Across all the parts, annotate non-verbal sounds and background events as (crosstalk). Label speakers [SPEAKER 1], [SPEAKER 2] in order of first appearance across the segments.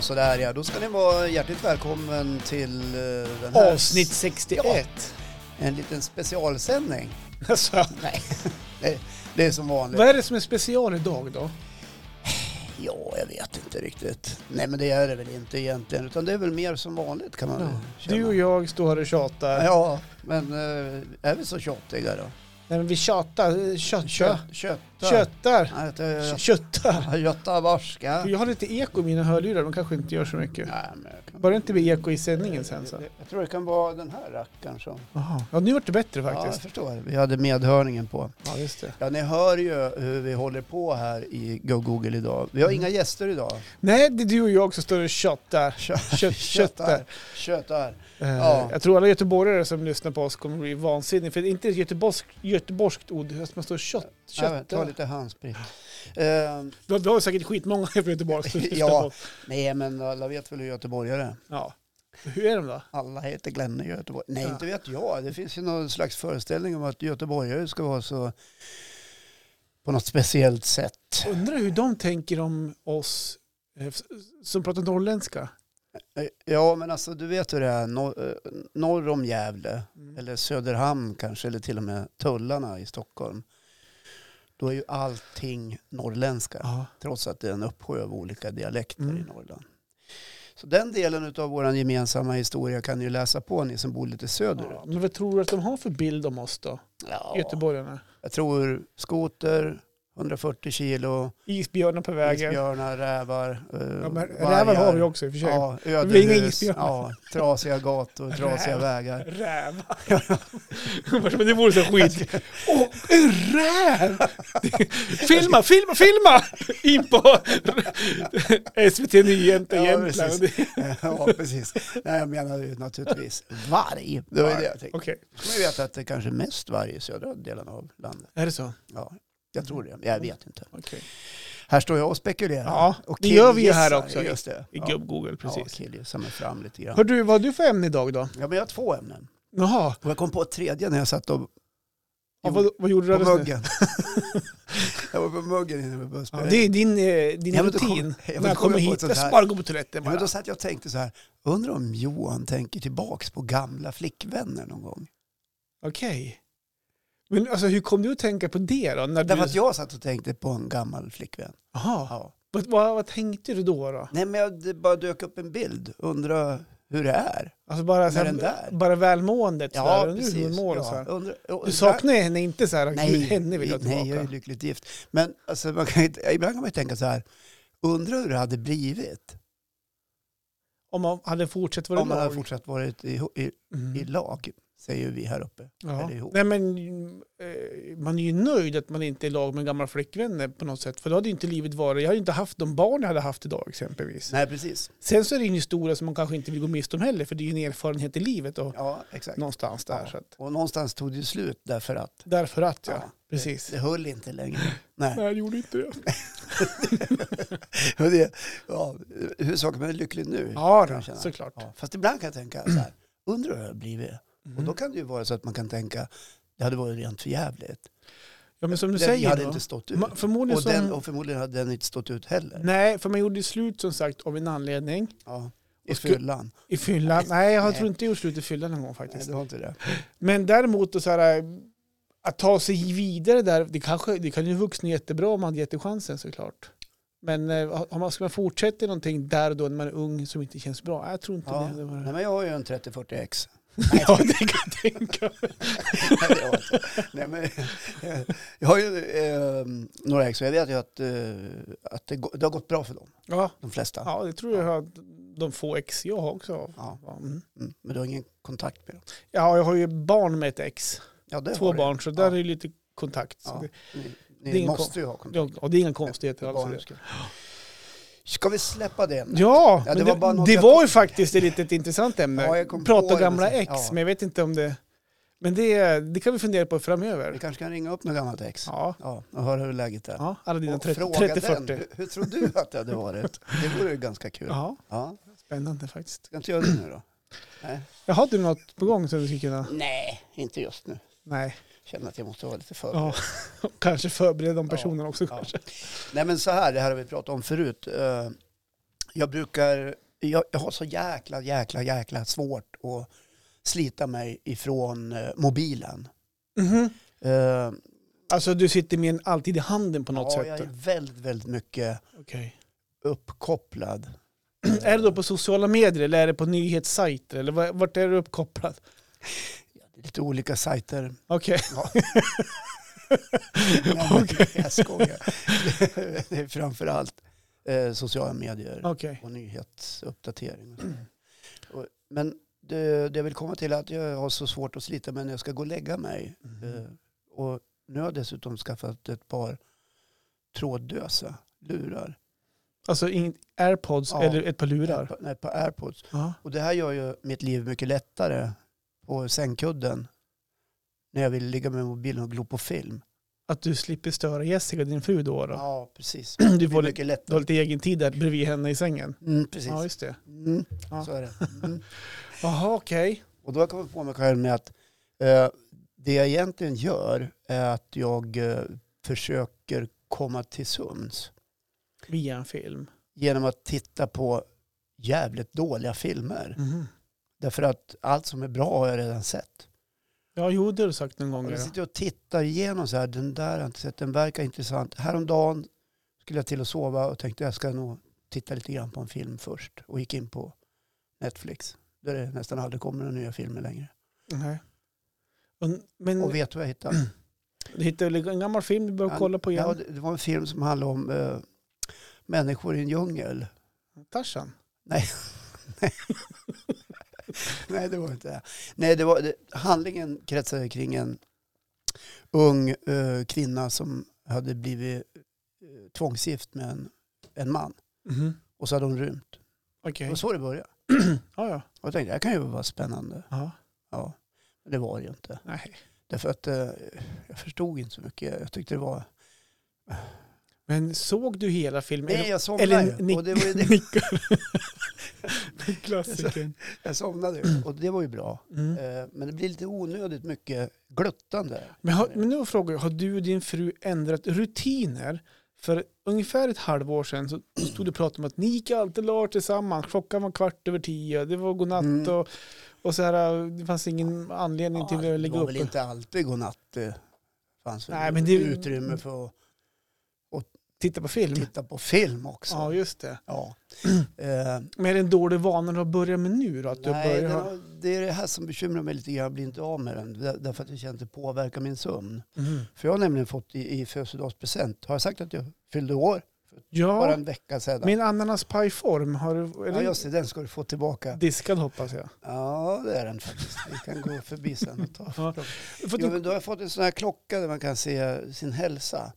[SPEAKER 1] sådär ja, då ska ni vara hjärtligt välkommen till eh, den här
[SPEAKER 2] Avsnitt 61.
[SPEAKER 1] ett. En liten
[SPEAKER 2] (laughs)
[SPEAKER 1] specialsändning.
[SPEAKER 2] Alltså,
[SPEAKER 1] Nej, det, det är som vanligt.
[SPEAKER 2] vad är det som är special idag då?
[SPEAKER 1] Ja, jag vet inte riktigt. Nej, men det är det väl inte egentligen, utan det är väl mer som vanligt kan man ja, känna.
[SPEAKER 2] Du och jag står här och tjatar.
[SPEAKER 1] Ja, men eh, är vi så tjatiga då?
[SPEAKER 2] Nej, men vi tjatar. eh, Köttar.
[SPEAKER 1] Kö- Köttar.
[SPEAKER 2] Köttar.
[SPEAKER 1] Nej, det är-
[SPEAKER 2] Köttar.
[SPEAKER 1] Götta varska.
[SPEAKER 2] Jag har lite eko i mina hörlurar, de kanske inte gör så mycket.
[SPEAKER 1] Nej, men jag kan-
[SPEAKER 2] Bara det inte blir eko i sändningen sen så.
[SPEAKER 1] Jag tror det kan vara den här rackaren som...
[SPEAKER 2] Aha. Ja, nu vart det bättre
[SPEAKER 1] Ja, jag
[SPEAKER 2] faktiskt.
[SPEAKER 1] förstår. Vi hade medhörningen på.
[SPEAKER 2] Ja, just det.
[SPEAKER 1] Ja, ni hör ju hur vi håller på här i Go Google idag. Vi har
[SPEAKER 2] Mm.
[SPEAKER 1] inga gäster idag.
[SPEAKER 2] Nej, det är du och jag som står och tjatar.
[SPEAKER 1] (laughs)
[SPEAKER 2] Kött, köttar.
[SPEAKER 1] Köttar.
[SPEAKER 2] Eh,
[SPEAKER 1] Ja.
[SPEAKER 2] Jag tror alla göteborgare som lyssnar på oss kommer bli vansinniga. För det är inte ett göteborgsk, göteborgskt ord, att man står och kött,
[SPEAKER 1] Ja, men Ta
[SPEAKER 2] köttar.
[SPEAKER 1] lite handsprit. Ehm,
[SPEAKER 2] Du har, du har säkert skitmånga (laughs) från Göteborg som
[SPEAKER 1] (laughs)
[SPEAKER 2] lyssnar
[SPEAKER 1] Ja.
[SPEAKER 2] på oss.
[SPEAKER 1] nej, men alla vet väl hur göteborgare är.
[SPEAKER 2] Ja. Hur är de då?
[SPEAKER 1] Alla heter Glenn i Göteborg. Nej,
[SPEAKER 2] Ja.
[SPEAKER 1] inte vet jag. Det finns ju någon slags föreställning om att göteborgare ska vara så på något speciellt sätt.
[SPEAKER 2] Undrar hur de tänker om oss eh, s- som pratar norrländska.
[SPEAKER 1] Ja, men alltså du vet hur det är norr, eh, norr om Gävle,
[SPEAKER 2] Mm.
[SPEAKER 1] eller Söderhamn kanske, eller till och med Tullarna i Stockholm. Då är ju allting norrländska,
[SPEAKER 2] Ja.
[SPEAKER 1] trots att det är en uppsjö av olika dialekter
[SPEAKER 2] Mm.
[SPEAKER 1] i Norrland. Så den delen av vår gemensamma historia kan ni ju läsa på, ni som bor lite söderut.
[SPEAKER 2] Ja. Men vad tror du att de har för bild om oss då?
[SPEAKER 1] Ja.
[SPEAKER 2] Göteborgarna.
[SPEAKER 1] Jag tror skoter, 140 kilo,
[SPEAKER 2] Isbjörnar på vägen.
[SPEAKER 1] isbjörnar, rävar, eh,
[SPEAKER 2] Ja, men
[SPEAKER 1] vargar.
[SPEAKER 2] rävar har vi också i och för sig.
[SPEAKER 1] Ja,
[SPEAKER 2] blir inga
[SPEAKER 1] ödehus,
[SPEAKER 2] isbjörnar.
[SPEAKER 1] ja, trasiga
[SPEAKER 2] (laughs)
[SPEAKER 1] gator, trasiga
[SPEAKER 2] Räv.
[SPEAKER 1] vägar.
[SPEAKER 2] (laughs) Rävar. Men det vore så (laughs) skit. Åh, en räv! (laughs) filma, filma, filma! In på (laughs) SVT Nyheter
[SPEAKER 1] Ja,
[SPEAKER 2] Jämtland.
[SPEAKER 1] precis. (laughs) ja, precis. Nej, jag menar ju naturligtvis varg. Det var ju det jag tänkte.
[SPEAKER 2] Okej,
[SPEAKER 1] Man vet att det är kanske mest varg i södra delen av landet.
[SPEAKER 2] är det så?
[SPEAKER 1] Ja, jag tror det. Jag vet inte.
[SPEAKER 2] Okej.
[SPEAKER 1] Här står jag och spekulerar.
[SPEAKER 2] Ja,
[SPEAKER 1] och
[SPEAKER 2] det gör vi ju här
[SPEAKER 1] killgissar.
[SPEAKER 2] också.
[SPEAKER 1] Just det.
[SPEAKER 2] I gubb-Google,
[SPEAKER 1] Ja,
[SPEAKER 2] precis.
[SPEAKER 1] killgissar mig fram lite
[SPEAKER 2] Hör
[SPEAKER 1] grann.
[SPEAKER 2] du, vad har du för ämne idag då?
[SPEAKER 1] Ja, men jag har två ämnen.
[SPEAKER 2] Jaha,
[SPEAKER 1] Och jag kom på ett tredje när jag satt och,
[SPEAKER 2] ja, vad, vad gjorde du
[SPEAKER 1] på
[SPEAKER 2] alldeles nu?
[SPEAKER 1] muggen. (laughs) jag var på muggen innan vi började
[SPEAKER 2] Ja,
[SPEAKER 1] spela
[SPEAKER 2] det
[SPEAKER 1] in.
[SPEAKER 2] är din, eh, din
[SPEAKER 1] Ja, men då kom-
[SPEAKER 2] rutin.
[SPEAKER 1] ja, men
[SPEAKER 2] När
[SPEAKER 1] då
[SPEAKER 2] jag
[SPEAKER 1] kom
[SPEAKER 2] kommer
[SPEAKER 1] jag på
[SPEAKER 2] hit,
[SPEAKER 1] ett sånt
[SPEAKER 2] jag
[SPEAKER 1] här-
[SPEAKER 2] bara går på toaletten
[SPEAKER 1] Ja, men
[SPEAKER 2] bara.
[SPEAKER 1] då satt jag och tänkte så här, undrar om Johan tänker tillbaks på gamla flickvänner någon gång?
[SPEAKER 2] Okej. Men alltså hur kom du att tänka på det då? När
[SPEAKER 1] Därför
[SPEAKER 2] du...
[SPEAKER 1] att jag satt och tänkte på en gammal flickvän.
[SPEAKER 2] Aha.
[SPEAKER 1] Ja.
[SPEAKER 2] Vad, vad, vad tänkte du då? då?
[SPEAKER 1] Nej, men jag, det bara dök upp en bild. Undrar hur det är.
[SPEAKER 2] Alltså bara,
[SPEAKER 1] Med
[SPEAKER 2] så
[SPEAKER 1] den
[SPEAKER 2] här,
[SPEAKER 1] där.
[SPEAKER 2] bara välmåendet? Ja, sådär. Undrar hur hon mår och så här.
[SPEAKER 1] Undrar- och-
[SPEAKER 2] Du saknar henne inte så här?
[SPEAKER 1] nej,
[SPEAKER 2] Nej, henne vill jag tillbaka.
[SPEAKER 1] Nej, jag är lyckligt gift. Men alltså, man kan, ju inte- ibland kan man ju tänka så här, undrar hur det hade blivit
[SPEAKER 2] Om man hade fortsatt vara
[SPEAKER 1] om man hade
[SPEAKER 2] lag.
[SPEAKER 1] fortsatt varit i, i, i
[SPEAKER 2] Mm.
[SPEAKER 1] lag, säger vi här uppe.
[SPEAKER 2] Ja.
[SPEAKER 1] eller ihop.
[SPEAKER 2] Nej, men, eh, man är ju nöjd att man inte är i lag med gamla flickvänner på något sätt. För då hade ju inte livet varit, jag hade ju inte haft de barn jag hade haft idag exempelvis.
[SPEAKER 1] Nej, precis.
[SPEAKER 2] Sen så är det ju en historia som man kanske inte vill gå miste om heller, för det är ju en erfarenhet i livet och
[SPEAKER 1] Ja, exakt.
[SPEAKER 2] någonstans där. Så att,
[SPEAKER 1] Och någonstans tog det ju slut därför att
[SPEAKER 2] därför att ja,
[SPEAKER 1] Ja,
[SPEAKER 2] precis.
[SPEAKER 1] det (laughs) höll inte
[SPEAKER 2] (laughs)
[SPEAKER 1] längre. Nej.
[SPEAKER 2] Nej, jag gjorde inte det.
[SPEAKER 1] (laughs) Och det, ja, hur saker man är lycklig nu.
[SPEAKER 2] Ja,
[SPEAKER 1] kan jag
[SPEAKER 2] då,
[SPEAKER 1] känna.
[SPEAKER 2] såklart.
[SPEAKER 1] Ja, fast ibland kan jag tänka så här, undrar hur det har blivit?
[SPEAKER 2] Mm.
[SPEAKER 1] Och då kan det ju vara så att man kan tänka, det hade varit rent för jävligt.
[SPEAKER 2] Ja, men som du
[SPEAKER 1] Den
[SPEAKER 2] säger
[SPEAKER 1] hade
[SPEAKER 2] då,
[SPEAKER 1] inte stått ut.
[SPEAKER 2] ma- förmodligen
[SPEAKER 1] Och,
[SPEAKER 2] som, Mm.
[SPEAKER 1] den, och förmodligen hade den inte stått ut heller.
[SPEAKER 2] Nej, för man gjorde ju slut som sagt av en anledning.
[SPEAKER 1] Ja, I
[SPEAKER 2] Och sku-
[SPEAKER 1] fyllan.
[SPEAKER 2] I fyllan. Nej, jag har
[SPEAKER 1] Nej.
[SPEAKER 2] tror inte jag gjort slut i fyllan någon gång
[SPEAKER 1] Nej,
[SPEAKER 2] faktiskt. Mm.
[SPEAKER 1] det var inte det.
[SPEAKER 2] Men däremot då, så här, eh, att ta sig vidare där, det, kanske, det kan ju vuxna jättebra om man hade gett det chansen såklart. Men eh, om man ska man fortsätta i någonting där då när man är ung som inte känns bra? Nej, Jag tror inte
[SPEAKER 1] Ja.
[SPEAKER 2] det. det var
[SPEAKER 1] Nej, men jag har ju en 30-40 x.
[SPEAKER 2] Ja, det kan jag tänka mig.
[SPEAKER 1] Nej, det har jag inte. Nej, men, eh, jag har ju eh, några ex och jag vet ju att, eh, att det, gå- det har gått bra för dem,
[SPEAKER 2] Ja,
[SPEAKER 1] de flesta.
[SPEAKER 2] ja, det tror jag att de få ex jag har också.
[SPEAKER 1] Ja,
[SPEAKER 2] Ja, mm.
[SPEAKER 1] mm. Men du har ingen kontakt med dem?
[SPEAKER 2] ja, jag har ju barn med ett ex.
[SPEAKER 1] Ja, det
[SPEAKER 2] Två
[SPEAKER 1] har du.
[SPEAKER 2] barn, så
[SPEAKER 1] Ja.
[SPEAKER 2] där är ju lite kontakt. Så
[SPEAKER 1] Ja.
[SPEAKER 2] det,
[SPEAKER 1] Ni,
[SPEAKER 2] Det är
[SPEAKER 1] ni
[SPEAKER 2] ingen
[SPEAKER 1] måste ju ha kontakt.
[SPEAKER 2] ja, och det är inga konstigheter alls. i
[SPEAKER 1] Barnen
[SPEAKER 2] det.
[SPEAKER 1] ska- Ska vi släppa det? ämnet?
[SPEAKER 2] Ja,
[SPEAKER 1] Ja, det
[SPEAKER 2] men
[SPEAKER 1] var
[SPEAKER 2] det,
[SPEAKER 1] bara något
[SPEAKER 2] det
[SPEAKER 1] jag-
[SPEAKER 2] var ju faktiskt ett litet intressant ämne.
[SPEAKER 1] Ja, jag kom på
[SPEAKER 2] Prata
[SPEAKER 1] det,
[SPEAKER 2] gamla
[SPEAKER 1] men-
[SPEAKER 2] ex,
[SPEAKER 1] ja.
[SPEAKER 2] men jag vet inte om det... Men det, det kan vi fundera på
[SPEAKER 1] Vi
[SPEAKER 2] framöver.
[SPEAKER 1] kanske kan ringa upp något gammalt ex
[SPEAKER 2] Ja,
[SPEAKER 1] ja, och höra hur läget är.
[SPEAKER 2] ja alla dina
[SPEAKER 1] Och fråga den,
[SPEAKER 2] 30-40.
[SPEAKER 1] hur, hur tror du att det hade varit? Det vore ju ganska kul.
[SPEAKER 2] Ja,
[SPEAKER 1] Ja,
[SPEAKER 2] spännande faktiskt.
[SPEAKER 1] ska inte göra det nu då? Nej,
[SPEAKER 2] Jag har du något på gång som du skulle kunna...
[SPEAKER 1] Nej inte just nu.
[SPEAKER 2] Nej,
[SPEAKER 1] Känner att jag måste vara lite förberedd.
[SPEAKER 2] ja. (laughs) kanske förbereda de personerna också.
[SPEAKER 1] Ja.
[SPEAKER 2] Kanske.
[SPEAKER 1] Nej men så här, det här har vi pratat om förut. Eh, Jag brukar, jag, jag har så jäkla, jäkla, jäkla svårt att slita mig ifrån eh, mobilen.
[SPEAKER 2] Mhm.
[SPEAKER 1] Eh,
[SPEAKER 2] Alltså du sitter med den alltid i handen på något
[SPEAKER 1] ja, jag
[SPEAKER 2] sätt?
[SPEAKER 1] är väldigt, väldigt mycket
[SPEAKER 2] Okej.
[SPEAKER 1] uppkopplad.
[SPEAKER 2] (clears throat) Är det då på sociala medier eller är det på nyhetssajter? Eller var- vart är du uppkopplad?
[SPEAKER 1] Eh, Lite olika
[SPEAKER 2] (laughs)
[SPEAKER 1] sajter.
[SPEAKER 2] Okej.
[SPEAKER 1] Nej, men Jag skojar. (laughs) Det är framförallt eh, sociala medier
[SPEAKER 2] Okej.
[SPEAKER 1] och nyhetsuppdatering. och sådär. Och, men det, det jag vill komma till är att jag har så svårt att slita mig när jag ska gå och lägga mig.
[SPEAKER 2] Mm.
[SPEAKER 1] Eh, och nu har jag dessutom skaffat ett par trådlösa lurar.
[SPEAKER 2] Alltså in, airpods
[SPEAKER 1] Ja.
[SPEAKER 2] eller ett par lurar?
[SPEAKER 1] Nej, på airpods.
[SPEAKER 2] Ja.
[SPEAKER 1] Och det här gör ju mitt liv mycket lättare på sängkudden. När jag vill ligga med mobilen och glo på film.
[SPEAKER 2] Att du slipper störa Jessica, din fru då? då.
[SPEAKER 1] Ja, precis.
[SPEAKER 2] (clears throat) Du
[SPEAKER 1] Det blir
[SPEAKER 2] får lite-
[SPEAKER 1] mycket
[SPEAKER 2] Du har
[SPEAKER 1] lättare.
[SPEAKER 2] lite egen tid där bredvid henne i sängen?
[SPEAKER 1] Mm, precis.
[SPEAKER 2] Ja, just det.
[SPEAKER 1] Mm,
[SPEAKER 2] Ja.
[SPEAKER 1] Så är det. Mm.
[SPEAKER 2] Jaha, okej.
[SPEAKER 1] Och då har jag kommit på mig själv med att eh, det jag egentligen gör är att jag eh, försöker komma till sömns
[SPEAKER 2] Via en film.
[SPEAKER 1] genom att titta på jävligt dåliga filmer.
[SPEAKER 2] Mhm.
[SPEAKER 1] Därför att allt som är bra har jag redan sett.
[SPEAKER 2] Ja, jo, det har du sagt någon gång.
[SPEAKER 1] Och jag
[SPEAKER 2] Ja.
[SPEAKER 1] sitter och tittar igenom så här, den där har jag inte sett, den verkar intressant. Häromdagen skulle jag till att sova och tänkte jag ska nog titta lite grann på en film först och gick in på Netflix. Där det nästan aldrig kommer några nya filmer längre.
[SPEAKER 2] Nej. Och- Men
[SPEAKER 1] Och vet vad jag hittade?
[SPEAKER 2] du hittade väl en gammal film du bör
[SPEAKER 1] Ja,
[SPEAKER 2] kolla (clears throat) på igen?
[SPEAKER 1] Ja, det det var en film som handlade om eh, människor i en djungel. (laughs)
[SPEAKER 2] Tarzan?
[SPEAKER 1] Nej, det var inte det. Nej, det var, det, handlingen kretsade kring en ung eh, kvinna som hade blivit eh, tvångsgift med en, en man.
[SPEAKER 2] Mhm.
[SPEAKER 1] Och så hade hon rymt. Det
[SPEAKER 2] Okej.
[SPEAKER 1] var så det började.
[SPEAKER 2] Ja, ja.
[SPEAKER 1] Och jag tänkte, det här kan ju vara spännande.
[SPEAKER 2] ja.
[SPEAKER 1] Ja, men det var det ju inte.
[SPEAKER 2] Nej.
[SPEAKER 1] Därför att eh, jag förstod inte så mycket. Jag tyckte det var...
[SPEAKER 2] Men såg du hela filmen?
[SPEAKER 1] Nej, jag somnade
[SPEAKER 2] eller
[SPEAKER 1] ju.
[SPEAKER 2] nick-
[SPEAKER 1] Och det var ju (laughs) det.
[SPEAKER 2] Nickar. Klassikern.
[SPEAKER 1] Jag somnade ju. Och det var ju bra.
[SPEAKER 2] (laughs) Mm.
[SPEAKER 1] Eh, Men det blir lite onödigt mycket gluttande.
[SPEAKER 2] Men, har, men nu frågar jag, har du och din fru ändrat rutiner? För ungefär ett halvår sedan så (clears throat) stod du och pratade om att ni gick alltid och la er tillsammans. Klockan var kvart över tio, det var godnatt
[SPEAKER 1] Mm.
[SPEAKER 2] och, och så här, äh, det fanns ingen anledning
[SPEAKER 1] Ja,
[SPEAKER 2] till att lägga
[SPEAKER 1] Det var
[SPEAKER 2] upp.
[SPEAKER 1] väl inte alltid godnatt. Det fanns
[SPEAKER 2] Nej,
[SPEAKER 1] väl
[SPEAKER 2] men det-
[SPEAKER 1] utrymme för att
[SPEAKER 2] Titta på film.
[SPEAKER 1] titta på film också.
[SPEAKER 2] Ja,
[SPEAKER 1] Mm. Ja.
[SPEAKER 2] just det.
[SPEAKER 1] (clears throat) Eh,
[SPEAKER 2] Men är det en dålig vana du har börjat med nu då? Att du
[SPEAKER 1] nej,
[SPEAKER 2] börjar...
[SPEAKER 1] den
[SPEAKER 2] ha-
[SPEAKER 1] har- det är det här som bekymrar mig lite grann. Jag blir inte av med den. Där- Därför att jag känner att det påverkar min sömn.
[SPEAKER 2] Mm.
[SPEAKER 1] För jag har nämligen fått i, i födelsedagspresent. Har jag sagt att jag fyllde år? Bara
[SPEAKER 2] Ja,
[SPEAKER 1] en vecka sedan.
[SPEAKER 2] min ananaspajform, har du... Är
[SPEAKER 1] Ja,
[SPEAKER 2] den
[SPEAKER 1] just det. Den ska du få tillbaka.
[SPEAKER 2] diskad hoppas jag?
[SPEAKER 1] Ja, det är den faktiskt. Vi kan gå förbi sen
[SPEAKER 2] (laughs)
[SPEAKER 1] och ta.
[SPEAKER 2] Ja. För att
[SPEAKER 1] Jo,
[SPEAKER 2] du...
[SPEAKER 1] men då har jag fått en sån här klocka där man kan se sin hälsa.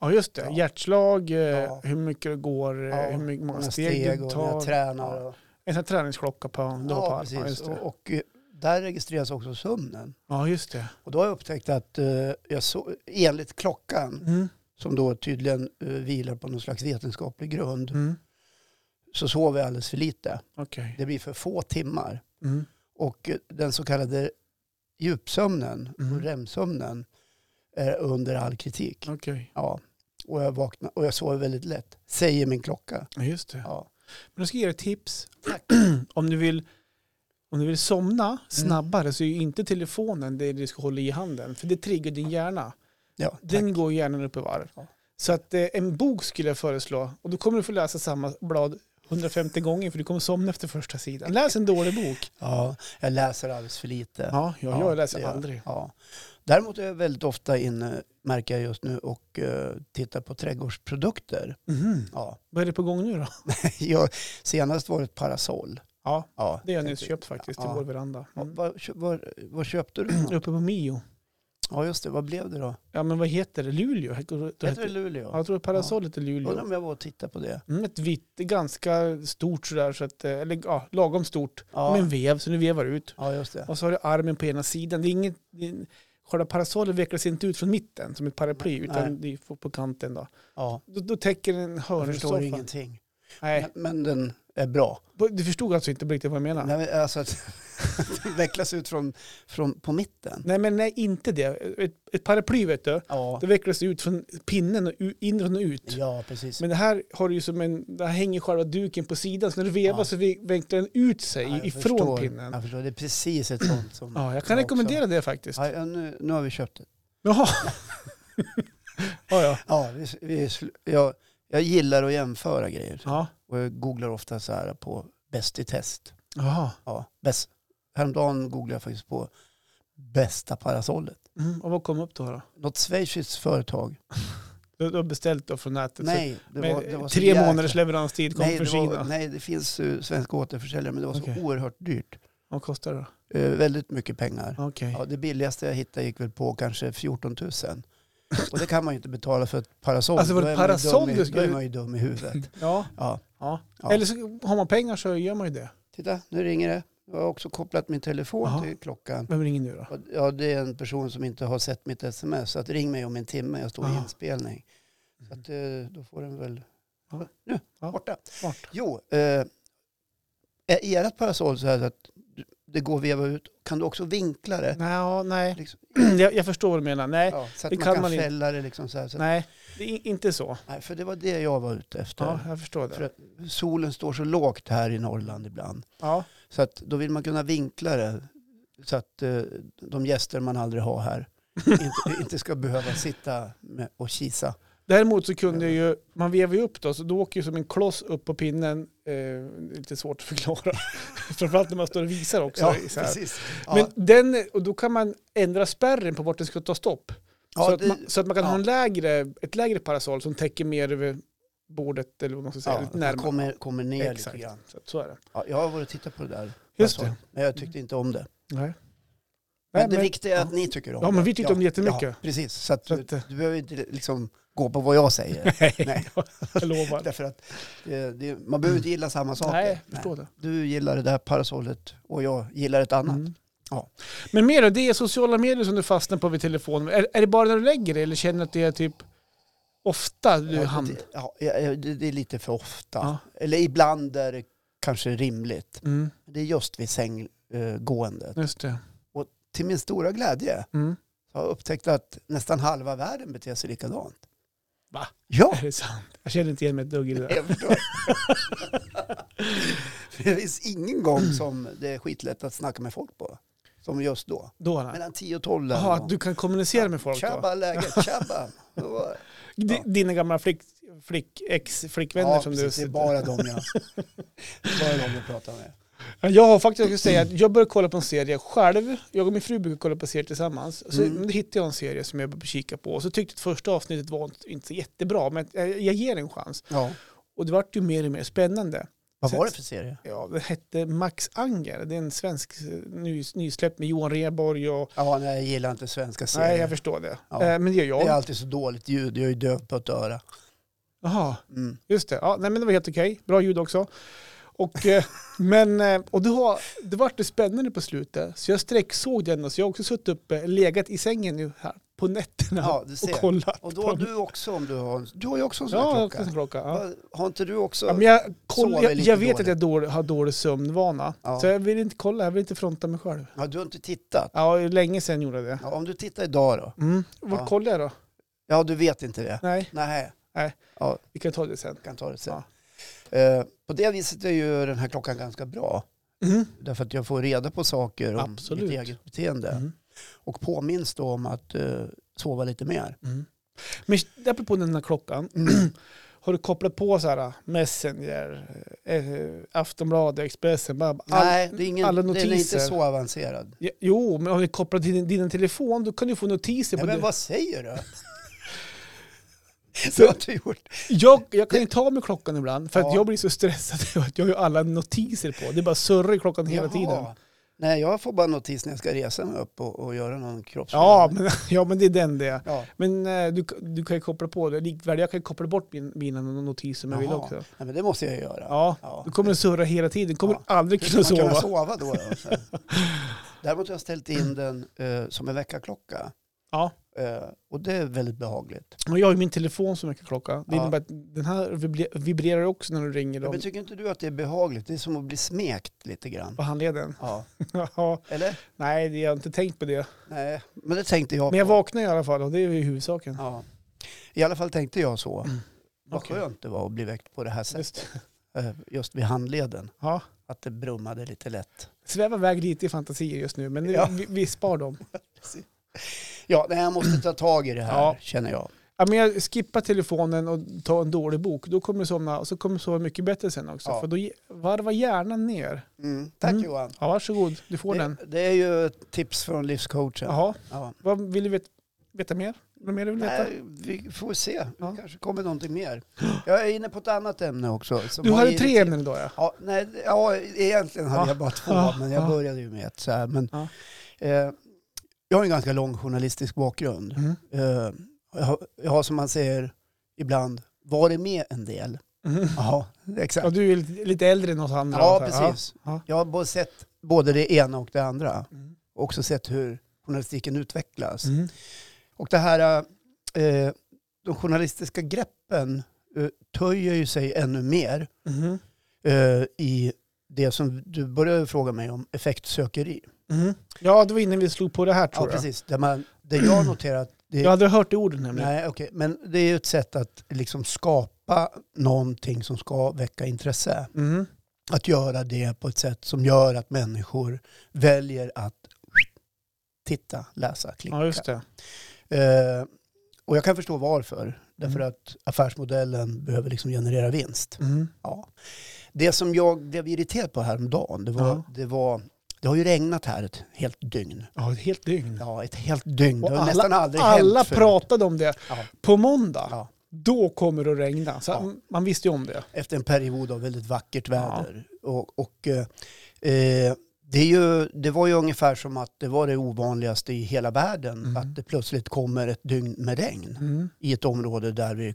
[SPEAKER 2] ja, just det.
[SPEAKER 1] Ja.
[SPEAKER 2] Hjärtslag, eh,
[SPEAKER 1] Ja.
[SPEAKER 2] hur mycket det går, eh,
[SPEAKER 1] Ja,
[SPEAKER 2] hur mycket, många
[SPEAKER 1] Många
[SPEAKER 2] steg,
[SPEAKER 1] steg
[SPEAKER 2] du
[SPEAKER 1] och när
[SPEAKER 2] tar.
[SPEAKER 1] jag tränar. Och,
[SPEAKER 2] En sån här träningsklocka på, då på
[SPEAKER 1] Ja,
[SPEAKER 2] armen. Ja,
[SPEAKER 1] precis.
[SPEAKER 2] just det.
[SPEAKER 1] Och, och eh, där registreras också sömnen.
[SPEAKER 2] Ja, just det.
[SPEAKER 1] Och då har jag upptäckt att eh, jag så, enligt klockan,
[SPEAKER 2] Mm.
[SPEAKER 1] som då tydligen eh, vilar på någon slags vetenskaplig grund,
[SPEAKER 2] Mm.
[SPEAKER 1] så sover jag alldeles för lite.
[SPEAKER 2] Okej.
[SPEAKER 1] Det blir för få timmar.
[SPEAKER 2] Mm.
[SPEAKER 1] Och eh, den så kallade djupsömnen
[SPEAKER 2] Mm.
[SPEAKER 1] och REM-sömnen är under all kritik.
[SPEAKER 2] Okej.
[SPEAKER 1] Ja. Och, jag vaknar, och jag sover väldigt lätt, säger min klocka.
[SPEAKER 2] Ja, just det.
[SPEAKER 1] Ja.
[SPEAKER 2] Men då ska jag ge dig ett tips.
[SPEAKER 1] Tack.
[SPEAKER 2] (clears throat)
[SPEAKER 1] Mm.
[SPEAKER 2] Om du vill, om du vill somna snabbare så är ju inte telefonen det du ska hålla i handen. För det triggar din hjärna.
[SPEAKER 1] Ja, tack.
[SPEAKER 2] Den går hjärnan upp i varv.
[SPEAKER 1] Ja.
[SPEAKER 2] Så att eh, en bok skulle jag föreslå. Och då kommer du få läsa samma blad 150 gånger för du kommer somna efter första sidan. Läs en dålig bok.
[SPEAKER 1] ja, jag läser alldeles för lite.
[SPEAKER 2] Ja, jag,
[SPEAKER 1] Ja,
[SPEAKER 2] jag läser
[SPEAKER 1] det gör jag.
[SPEAKER 2] aldrig.
[SPEAKER 1] Ja. Däremot är jag väldigt ofta inne, märker jag just nu, och eh, tittar på trädgårdsprodukter.
[SPEAKER 2] Mhm.
[SPEAKER 1] Ja. (laughs)
[SPEAKER 2] Vad är det på gång nu då?
[SPEAKER 1] Jag, senast var det ett parasoll.
[SPEAKER 2] Ja,
[SPEAKER 1] Ja.
[SPEAKER 2] det har jag nyss köpt faktiskt till
[SPEAKER 1] Ja.
[SPEAKER 2] vår veranda.
[SPEAKER 1] Ja,
[SPEAKER 2] Mm.
[SPEAKER 1] vad, kö- vad, vad köpte du?
[SPEAKER 2] (clears throat)
[SPEAKER 1] då?
[SPEAKER 2] Uppe på Mio.
[SPEAKER 1] Ja, just det. Vad blev det då?
[SPEAKER 2] Ja men vad heter det? Luleå? Heter det-
[SPEAKER 1] Hette det
[SPEAKER 2] Ja,
[SPEAKER 1] Luleå?
[SPEAKER 2] jag tror parasollet är
[SPEAKER 1] Undrar
[SPEAKER 2] Luleå.
[SPEAKER 1] om jag var och tittade på det.
[SPEAKER 2] Mm, ett vitt, ganska stort sådär, så att, eh, eller ja, lagom stort.
[SPEAKER 1] Ja.
[SPEAKER 2] Med en vev, så du vevar ut.
[SPEAKER 1] Ja, just det.
[SPEAKER 2] Och så har du armen på ena sidan. Det är inget, det är- själva parasollet vecklas inte ut från mitten som ett paraply, utan det är på kanten då.
[SPEAKER 1] Ja,
[SPEAKER 2] Då, då täcker den
[SPEAKER 1] jag förstår
[SPEAKER 2] hörnsoffan.
[SPEAKER 1] ingenting.
[SPEAKER 2] Nej,
[SPEAKER 1] Men, men den är bra.
[SPEAKER 2] Du förstod alltså inte riktigt vad jag menar?
[SPEAKER 1] Nej, men alltså (laughs) att att vecklas ut från, från på mitten.
[SPEAKER 2] Nej, men nej, inte det. Ett, ett paraply, vet du,
[SPEAKER 1] Ja,
[SPEAKER 2] det vecklas ut från pinnen och u- inifrån och ut.
[SPEAKER 1] ja precis.
[SPEAKER 2] Men det här har du ju som en, där hänger själva duken på sidan, så när du vevar
[SPEAKER 1] Ja.
[SPEAKER 2] så vi- vinklar den ut sig
[SPEAKER 1] Ja, jag
[SPEAKER 2] ifrån
[SPEAKER 1] förstår.
[SPEAKER 2] pinnen. Ja.
[SPEAKER 1] Jag förstår, det är precis ett sånt som...
[SPEAKER 2] jag kan rekommendera det faktiskt.
[SPEAKER 1] Också. Ja, nu, nu har vi köpt det.
[SPEAKER 2] Jaha. (laughs) ja, ja.
[SPEAKER 1] Ja, vi, vi, jag, jag gillar att jämföra grejer.
[SPEAKER 2] ja.
[SPEAKER 1] Och jag googlar ofta så här på bäst i test.
[SPEAKER 2] Jaha.
[SPEAKER 1] Ja, bäst. Häromdagen googlade jag faktiskt på bästa parasollet.
[SPEAKER 2] Mm, och vad kom upp då? då?
[SPEAKER 1] Något schweiziskt företag.
[SPEAKER 2] Du, du har beställt då från nätet?
[SPEAKER 1] Nej, det
[SPEAKER 2] så, med
[SPEAKER 1] var, det var så
[SPEAKER 2] tre
[SPEAKER 1] jäkla-
[SPEAKER 2] månaders leveranstid kom
[SPEAKER 1] nej,
[SPEAKER 2] från
[SPEAKER 1] det var,
[SPEAKER 2] Kina.
[SPEAKER 1] nej, det finns ju svenska återförsäljare men det var så
[SPEAKER 2] Okej.
[SPEAKER 1] oerhört dyrt.
[SPEAKER 2] Vad kostar det då?
[SPEAKER 1] Eh, väldigt mycket pengar.
[SPEAKER 2] Okej.
[SPEAKER 1] Ja, det billigaste jag hittade gick väl på kanske 14 000. Och det kan man ju inte betala för ett parasoll.
[SPEAKER 2] Alltså, var det
[SPEAKER 1] Då är man ju
[SPEAKER 2] parasoll
[SPEAKER 1] dum i-
[SPEAKER 2] du skulle-
[SPEAKER 1] Då är man ju dum i huvudet.
[SPEAKER 2] Ja.
[SPEAKER 1] Ja.
[SPEAKER 2] Ja.
[SPEAKER 1] Ja.
[SPEAKER 2] Eller så har man pengar så gör man ju det.
[SPEAKER 1] Titta, nu ringer det. Jag har också kopplat min telefon
[SPEAKER 2] Jaha.
[SPEAKER 1] till klockan.
[SPEAKER 2] Vem ringer nu då?
[SPEAKER 1] Och- Ja, det är en person som inte har sett mitt sms. Så att ring mig om en timme, jag står i
[SPEAKER 2] Jaha.
[SPEAKER 1] inspelning. Så att, eh, då får den väl...
[SPEAKER 2] Ja.
[SPEAKER 1] Nu,
[SPEAKER 2] Ja.
[SPEAKER 1] borta.
[SPEAKER 2] Bort.
[SPEAKER 1] Jo, eh, är ert parasoll så här så att du- det går att veva ut? Kan du också vinkla det?
[SPEAKER 2] Nej, nej.
[SPEAKER 1] Liksom,
[SPEAKER 2] (clears throat) Jag, jag förstår vad du menar. Nej,
[SPEAKER 1] ja, så att
[SPEAKER 2] det
[SPEAKER 1] man
[SPEAKER 2] kan
[SPEAKER 1] kan
[SPEAKER 2] man inte.
[SPEAKER 1] fälla det liksom så här. Så att,
[SPEAKER 2] nej. Det är i- inte så.
[SPEAKER 1] nej, för det var det jag var ute efter.
[SPEAKER 2] Ja, jag förstår
[SPEAKER 1] För
[SPEAKER 2] det.
[SPEAKER 1] att solen står så lågt här i Norrland ibland.
[SPEAKER 2] Ja,
[SPEAKER 1] Så att då vill man kunna vinkla det så att eh, de gäster man aldrig har
[SPEAKER 2] (laughs)
[SPEAKER 1] här inte, inte ska behöva sitta med och kisa.
[SPEAKER 2] Däremot så kunde jag ju, man vevar ju upp då, så då åker ju som en kloss upp på pinnen. Eh, det är lite svårt att förklara. (laughs) Framförallt när man står och visar också. så här.
[SPEAKER 1] Ja,
[SPEAKER 2] Men den, och då kan man ändra spärren på vart den ska ta stopp.
[SPEAKER 1] ja,
[SPEAKER 2] så, att
[SPEAKER 1] det-
[SPEAKER 2] man, så att man kan
[SPEAKER 1] ja.
[SPEAKER 2] ha en lägre, ett lägre parasoll som täcker mer över bordet eller vad man ska säga.
[SPEAKER 1] ja,
[SPEAKER 2] lite
[SPEAKER 1] man
[SPEAKER 2] närmare.
[SPEAKER 1] kommer, kommer ner
[SPEAKER 2] Exakt.
[SPEAKER 1] lite grann.
[SPEAKER 2] Så, att så är det.
[SPEAKER 1] Ja, jag har varit och tittat på det där.
[SPEAKER 2] Just
[SPEAKER 1] Jag sa,
[SPEAKER 2] det.
[SPEAKER 1] Men jag tyckte inte om det.
[SPEAKER 2] Nej.
[SPEAKER 1] Men
[SPEAKER 2] Nej,
[SPEAKER 1] det
[SPEAKER 2] men-
[SPEAKER 1] viktiga är att ni tycker om
[SPEAKER 2] Ja,
[SPEAKER 1] det.
[SPEAKER 2] men vi tyckte om det jättemycket.
[SPEAKER 1] Ja, precis, så att
[SPEAKER 2] Så
[SPEAKER 1] du,
[SPEAKER 2] att, eh,
[SPEAKER 1] du behöver inte liksom gå på vad jag säger.
[SPEAKER 2] (laughs)
[SPEAKER 1] Nej. (laughs)
[SPEAKER 2] jag lovar.
[SPEAKER 1] Därför att det, det, man behöver inte gilla samma saker.
[SPEAKER 2] Nej, jag förstår det.
[SPEAKER 1] Du gillar det där parasollet och jag gillar ett annat.
[SPEAKER 2] Mm.
[SPEAKER 1] Ja.
[SPEAKER 2] Men mer då, det är sociala medier som du fastnar på vid telefonen. Är, är det bara när du lägger dig eller känner du att det är typ ofta du
[SPEAKER 1] Ja,
[SPEAKER 2] hamnar?
[SPEAKER 1] det- Ja, ja, ja, det, det är lite för ofta.
[SPEAKER 2] Ja.
[SPEAKER 1] Eller ibland är det kanske rimligt.
[SPEAKER 2] Mm,
[SPEAKER 1] Det är just vid sänggåendet.
[SPEAKER 2] just det.
[SPEAKER 1] Till min stora glädje
[SPEAKER 2] Mm.
[SPEAKER 1] har jag upptäckt att nästan halva världen beter sig likadant.
[SPEAKER 2] Va?
[SPEAKER 1] Ja,
[SPEAKER 2] Är det sant? Jag känner inte igen mig ett dugg i det
[SPEAKER 1] (laughs)
[SPEAKER 2] där.
[SPEAKER 1] jag förstår. För det finns ingen gång som det är skitlätt att snacka med folk på. Som just då.
[SPEAKER 2] Då, nej.
[SPEAKER 1] Mellan 10 och 12. där
[SPEAKER 2] Jaha,
[SPEAKER 1] någon
[SPEAKER 2] att du kan kommunicera med folk då?
[SPEAKER 1] Tjabba läget,
[SPEAKER 2] (laughs)
[SPEAKER 1] tjabba. Då-
[SPEAKER 2] D-
[SPEAKER 1] Ja.
[SPEAKER 2] Dina gamla flick, flick, ex-flickvänner
[SPEAKER 1] ja,
[SPEAKER 2] som
[SPEAKER 1] precis,
[SPEAKER 2] du...
[SPEAKER 1] det är bara de jag, bara de jag pratar med.
[SPEAKER 2] Ja, Jag har faktiskt, jag skulle säga att jag började kolla på en serie själv. Jag och min fru brukar kolla på serier tillsammans. Så
[SPEAKER 1] Mm.
[SPEAKER 2] då hittade jag en serie som jag började kika på. Och så tyckte jag att första avsnittet var inte- inte så jättebra, men jag, jag ger en chans.
[SPEAKER 1] Ja.
[SPEAKER 2] Och det vart ju mer och mer spännande.
[SPEAKER 1] Vad
[SPEAKER 2] Så-
[SPEAKER 1] var det för serie?
[SPEAKER 2] Ja, det hette Max Anger. Det är en svensk eh, ny, nysläpp med Johan Rheborg och...
[SPEAKER 1] Ja, nej, jag gillar inte svenska serier.
[SPEAKER 2] Nej, jag förstår det.
[SPEAKER 1] Ja.
[SPEAKER 2] Eh, Men det gör
[SPEAKER 1] Det är
[SPEAKER 2] jag.
[SPEAKER 1] alltid så dåligt ljud, jag är döv på ett öra.
[SPEAKER 2] Jaha,
[SPEAKER 1] Mm.
[SPEAKER 2] just det. Ja, nej, men det var helt okej. Bra ljud också. Och, eh, (laughs) men, eh, och det, har, det vart det spännande på slutet. Så jag sträcksåg den och så jag har också suttit uppe, legat i sängen nu här på nätterna
[SPEAKER 1] Ja, du
[SPEAKER 2] (laughs) och
[SPEAKER 1] ser.
[SPEAKER 2] kollat.
[SPEAKER 1] Och då har
[SPEAKER 2] på den.
[SPEAKER 1] du också, om du har en, du har ju också en sån
[SPEAKER 2] Ja, jag
[SPEAKER 1] här
[SPEAKER 2] har
[SPEAKER 1] klocka.
[SPEAKER 2] också en klocka. Ja.
[SPEAKER 1] Va- Har inte du också?
[SPEAKER 2] Ja, men jag, koll,
[SPEAKER 1] sover
[SPEAKER 2] jag,
[SPEAKER 1] lite
[SPEAKER 2] jag vet
[SPEAKER 1] dåligt.
[SPEAKER 2] att jag dålig, har dålig sömnvana.
[SPEAKER 1] Ja.
[SPEAKER 2] Så jag vill inte kolla, jag vill inte fronta mig själv.
[SPEAKER 1] Ja, du har inte tittat.
[SPEAKER 2] Ja, länge sedan gjorde jag det.
[SPEAKER 1] Ja, om du tittar idag då?
[SPEAKER 2] Mm. Vad
[SPEAKER 1] Ja.
[SPEAKER 2] kollar jag då?
[SPEAKER 1] Ja, du vet inte det?
[SPEAKER 2] Nej,
[SPEAKER 1] Nej,
[SPEAKER 2] vi kan ta det sen.
[SPEAKER 1] jag kan ta det sen. Eh, på det viset är ju den här klockan ganska bra.
[SPEAKER 2] Mm.
[SPEAKER 1] Därför att jag får reda på saker om
[SPEAKER 2] Absolut.
[SPEAKER 1] mitt eget beteende.
[SPEAKER 2] Mm.
[SPEAKER 1] Och påminns då om att eh, sova lite mer.
[SPEAKER 2] Mm. Men apropå den här klockan,
[SPEAKER 1] Mm.
[SPEAKER 2] (clears throat) har du kopplat på så här äh, Messenger, eh, Aftonbladet, Expressen? Bara, all,
[SPEAKER 1] Nej, det är ingen,
[SPEAKER 2] alla
[SPEAKER 1] den är inte
[SPEAKER 2] notiser.
[SPEAKER 1] så avancerad.
[SPEAKER 2] Ja, Jo, men har du kopplat till din, din telefon, då kan du få notiser.
[SPEAKER 1] Nej,
[SPEAKER 2] på
[SPEAKER 1] men
[SPEAKER 2] det.
[SPEAKER 1] vad säger
[SPEAKER 2] (laughs)
[SPEAKER 1] du? Så har du gjort.
[SPEAKER 2] Jag, jag kan ju ta med klockan ibland, för
[SPEAKER 1] Ja.
[SPEAKER 2] att jag blir så stressad (laughs) över att jag har ju alla notiser på. Det bara surrar i klockan hela
[SPEAKER 1] Jaha.
[SPEAKER 2] tiden.
[SPEAKER 1] Nej, jag får bara notis när jag ska resa mig upp och, och göra någon
[SPEAKER 2] Ja
[SPEAKER 1] kroppsrörelse.
[SPEAKER 2] men, (laughs) ja, men det är den det.
[SPEAKER 1] Ja.
[SPEAKER 2] Men eh, du, du kan ju koppla på det. Likväl, jag kan koppla bort min, mina notiser om jag vill
[SPEAKER 1] Jaha.
[SPEAKER 2] också.
[SPEAKER 1] Nej, men det måste jag göra.
[SPEAKER 2] Ja,
[SPEAKER 1] Ja.
[SPEAKER 2] du kommer att surra hela tiden. Du kommer
[SPEAKER 1] Ja.
[SPEAKER 2] aldrig
[SPEAKER 1] Hur
[SPEAKER 2] kunna
[SPEAKER 1] ska man
[SPEAKER 2] sova.
[SPEAKER 1] kunna sova
[SPEAKER 2] (laughs)
[SPEAKER 1] då? då? Så här. Däremot har jag ställt in den eh, som en väckarklocka.
[SPEAKER 2] Ja.
[SPEAKER 1] Eh, och det är väldigt behagligt.
[SPEAKER 2] Och jag har ju min telefon som väcker klocka. Det
[SPEAKER 1] Ja.
[SPEAKER 2] innebär att den här vibre- vibrerar också när du ringer
[SPEAKER 1] Ja,
[SPEAKER 2] dem
[SPEAKER 1] men tycker inte du att det är behagligt? Det är som att bli smekt lite grann.
[SPEAKER 2] på handleden.
[SPEAKER 1] (laughs) Ja.
[SPEAKER 2] Ja,
[SPEAKER 1] Eller?
[SPEAKER 2] nej, det- jag har inte tänkt på det.
[SPEAKER 1] Nej, men det tänkte jag
[SPEAKER 2] Men jag
[SPEAKER 1] på.
[SPEAKER 2] vaknar i alla fall och det är ju huvudsaken.
[SPEAKER 1] Ja. I alla fall tänkte jag så. Vad
[SPEAKER 2] Mm. Okej.
[SPEAKER 1] skönt det var att bli väckt på det här sättet.
[SPEAKER 2] Just. (laughs)
[SPEAKER 1] Eh, Just vid handleden.
[SPEAKER 2] Ja.
[SPEAKER 1] Att det brummade lite lätt.
[SPEAKER 2] Svävar iväg lite i fantasier just nu, men det-
[SPEAKER 1] Ja.
[SPEAKER 2] vi, vi spar dem.
[SPEAKER 1] Ja, nej, jag måste ta tag i det här
[SPEAKER 2] Ja.
[SPEAKER 1] känner jag.
[SPEAKER 2] Ja, men jag skippar telefonen och tar en dålig bok. Då kommer du somna och så kommer du sova mycket bättre sen också.
[SPEAKER 1] Ja.
[SPEAKER 2] För då ge- varva hjärnan ner.
[SPEAKER 1] Mm. Tack
[SPEAKER 2] Mm.
[SPEAKER 1] Johan.
[SPEAKER 2] Ja, varsågod, du får den.
[SPEAKER 1] Det, det är ju ett tips från livscoachen.
[SPEAKER 2] Jaha,
[SPEAKER 1] Ja.
[SPEAKER 2] vad vill du veta, veta mer? Vad mer du vill veta?
[SPEAKER 1] Nej, vi får se. Det
[SPEAKER 2] Ja.
[SPEAKER 1] kanske kommer någonting mer. Jag är inne på ett annat ämne också. som
[SPEAKER 2] du
[SPEAKER 1] har
[SPEAKER 2] hade
[SPEAKER 1] irriterat-
[SPEAKER 2] tre ämnen idag ja.
[SPEAKER 1] Ja, nej, ja, egentligen hade
[SPEAKER 2] Ja.
[SPEAKER 1] jag bara två,
[SPEAKER 2] Ja.
[SPEAKER 1] men jag
[SPEAKER 2] Ja.
[SPEAKER 1] började ju med ett. Så här, men,
[SPEAKER 2] Ja.
[SPEAKER 1] eh, jag har en ganska lång journalistisk bakgrund.
[SPEAKER 2] Mm.
[SPEAKER 1] Eh, jag, har, jag har som man säger ibland varit med en del.
[SPEAKER 2] Mhm.
[SPEAKER 1] Ja,
[SPEAKER 2] Ja,
[SPEAKER 1] exakt.
[SPEAKER 2] du är lite- lite äldre än oss andra.
[SPEAKER 1] Ja,
[SPEAKER 2] antar jag.
[SPEAKER 1] precis.
[SPEAKER 2] Ja.
[SPEAKER 1] Jag har både sett både det ena och det andra.
[SPEAKER 2] Ja. Mm.
[SPEAKER 1] Och också sett hur journalistiken utvecklas.
[SPEAKER 2] Mm.
[SPEAKER 1] Och det här, eh, de journalistiska greppen eh, töjer ju sig ännu mer
[SPEAKER 2] Mhm.
[SPEAKER 1] eh, i det som du började fråga mig om, effektsökeri.
[SPEAKER 2] Mhm. Ja, det var innan vi slog på det här
[SPEAKER 1] Ja,
[SPEAKER 2] tror jag.
[SPEAKER 1] precis. Det, man, det jag har noterat, det,
[SPEAKER 2] Jag hade hört det ordet nämligen.
[SPEAKER 1] nej, okay, men det är ju ett sätt att liksom skapa någonting som ska väcka intresse.
[SPEAKER 2] Mm.
[SPEAKER 1] Att göra det på ett sätt som gör att människor väljer att titta, läsa, klicka.
[SPEAKER 2] Ja, just det.
[SPEAKER 1] Eh, och jag kan förstå varför. Därför
[SPEAKER 2] Mm.
[SPEAKER 1] att affärsmodellen behöver liksom generera vinst.
[SPEAKER 2] Mm.
[SPEAKER 1] Ja. Det som jag blev irriterad på häromdagen, det var,
[SPEAKER 2] Ja.
[SPEAKER 1] det var det har ju regnat här ett helt dygn.
[SPEAKER 2] Ja, ett helt dygn.
[SPEAKER 1] Ja, ett helt dygn.
[SPEAKER 2] Och
[SPEAKER 1] Det har
[SPEAKER 2] alla-
[SPEAKER 1] nästan aldrig
[SPEAKER 2] Alla
[SPEAKER 1] hänt förut.
[SPEAKER 2] pratade om det.
[SPEAKER 1] Ja.
[SPEAKER 2] På måndag,
[SPEAKER 1] Ja.
[SPEAKER 2] då kommer det att regna. Så
[SPEAKER 1] Ja.
[SPEAKER 2] Man visste ju om det.
[SPEAKER 1] Efter en period av väldigt vackert väder. Och, och, eh, eh, det, är ju, det var ju ungefär som att det var det ovanligaste i hela världen.
[SPEAKER 2] Mm.
[SPEAKER 1] Att det plötsligt kommer ett dygn med regn
[SPEAKER 2] Mm.
[SPEAKER 1] i ett område där vi...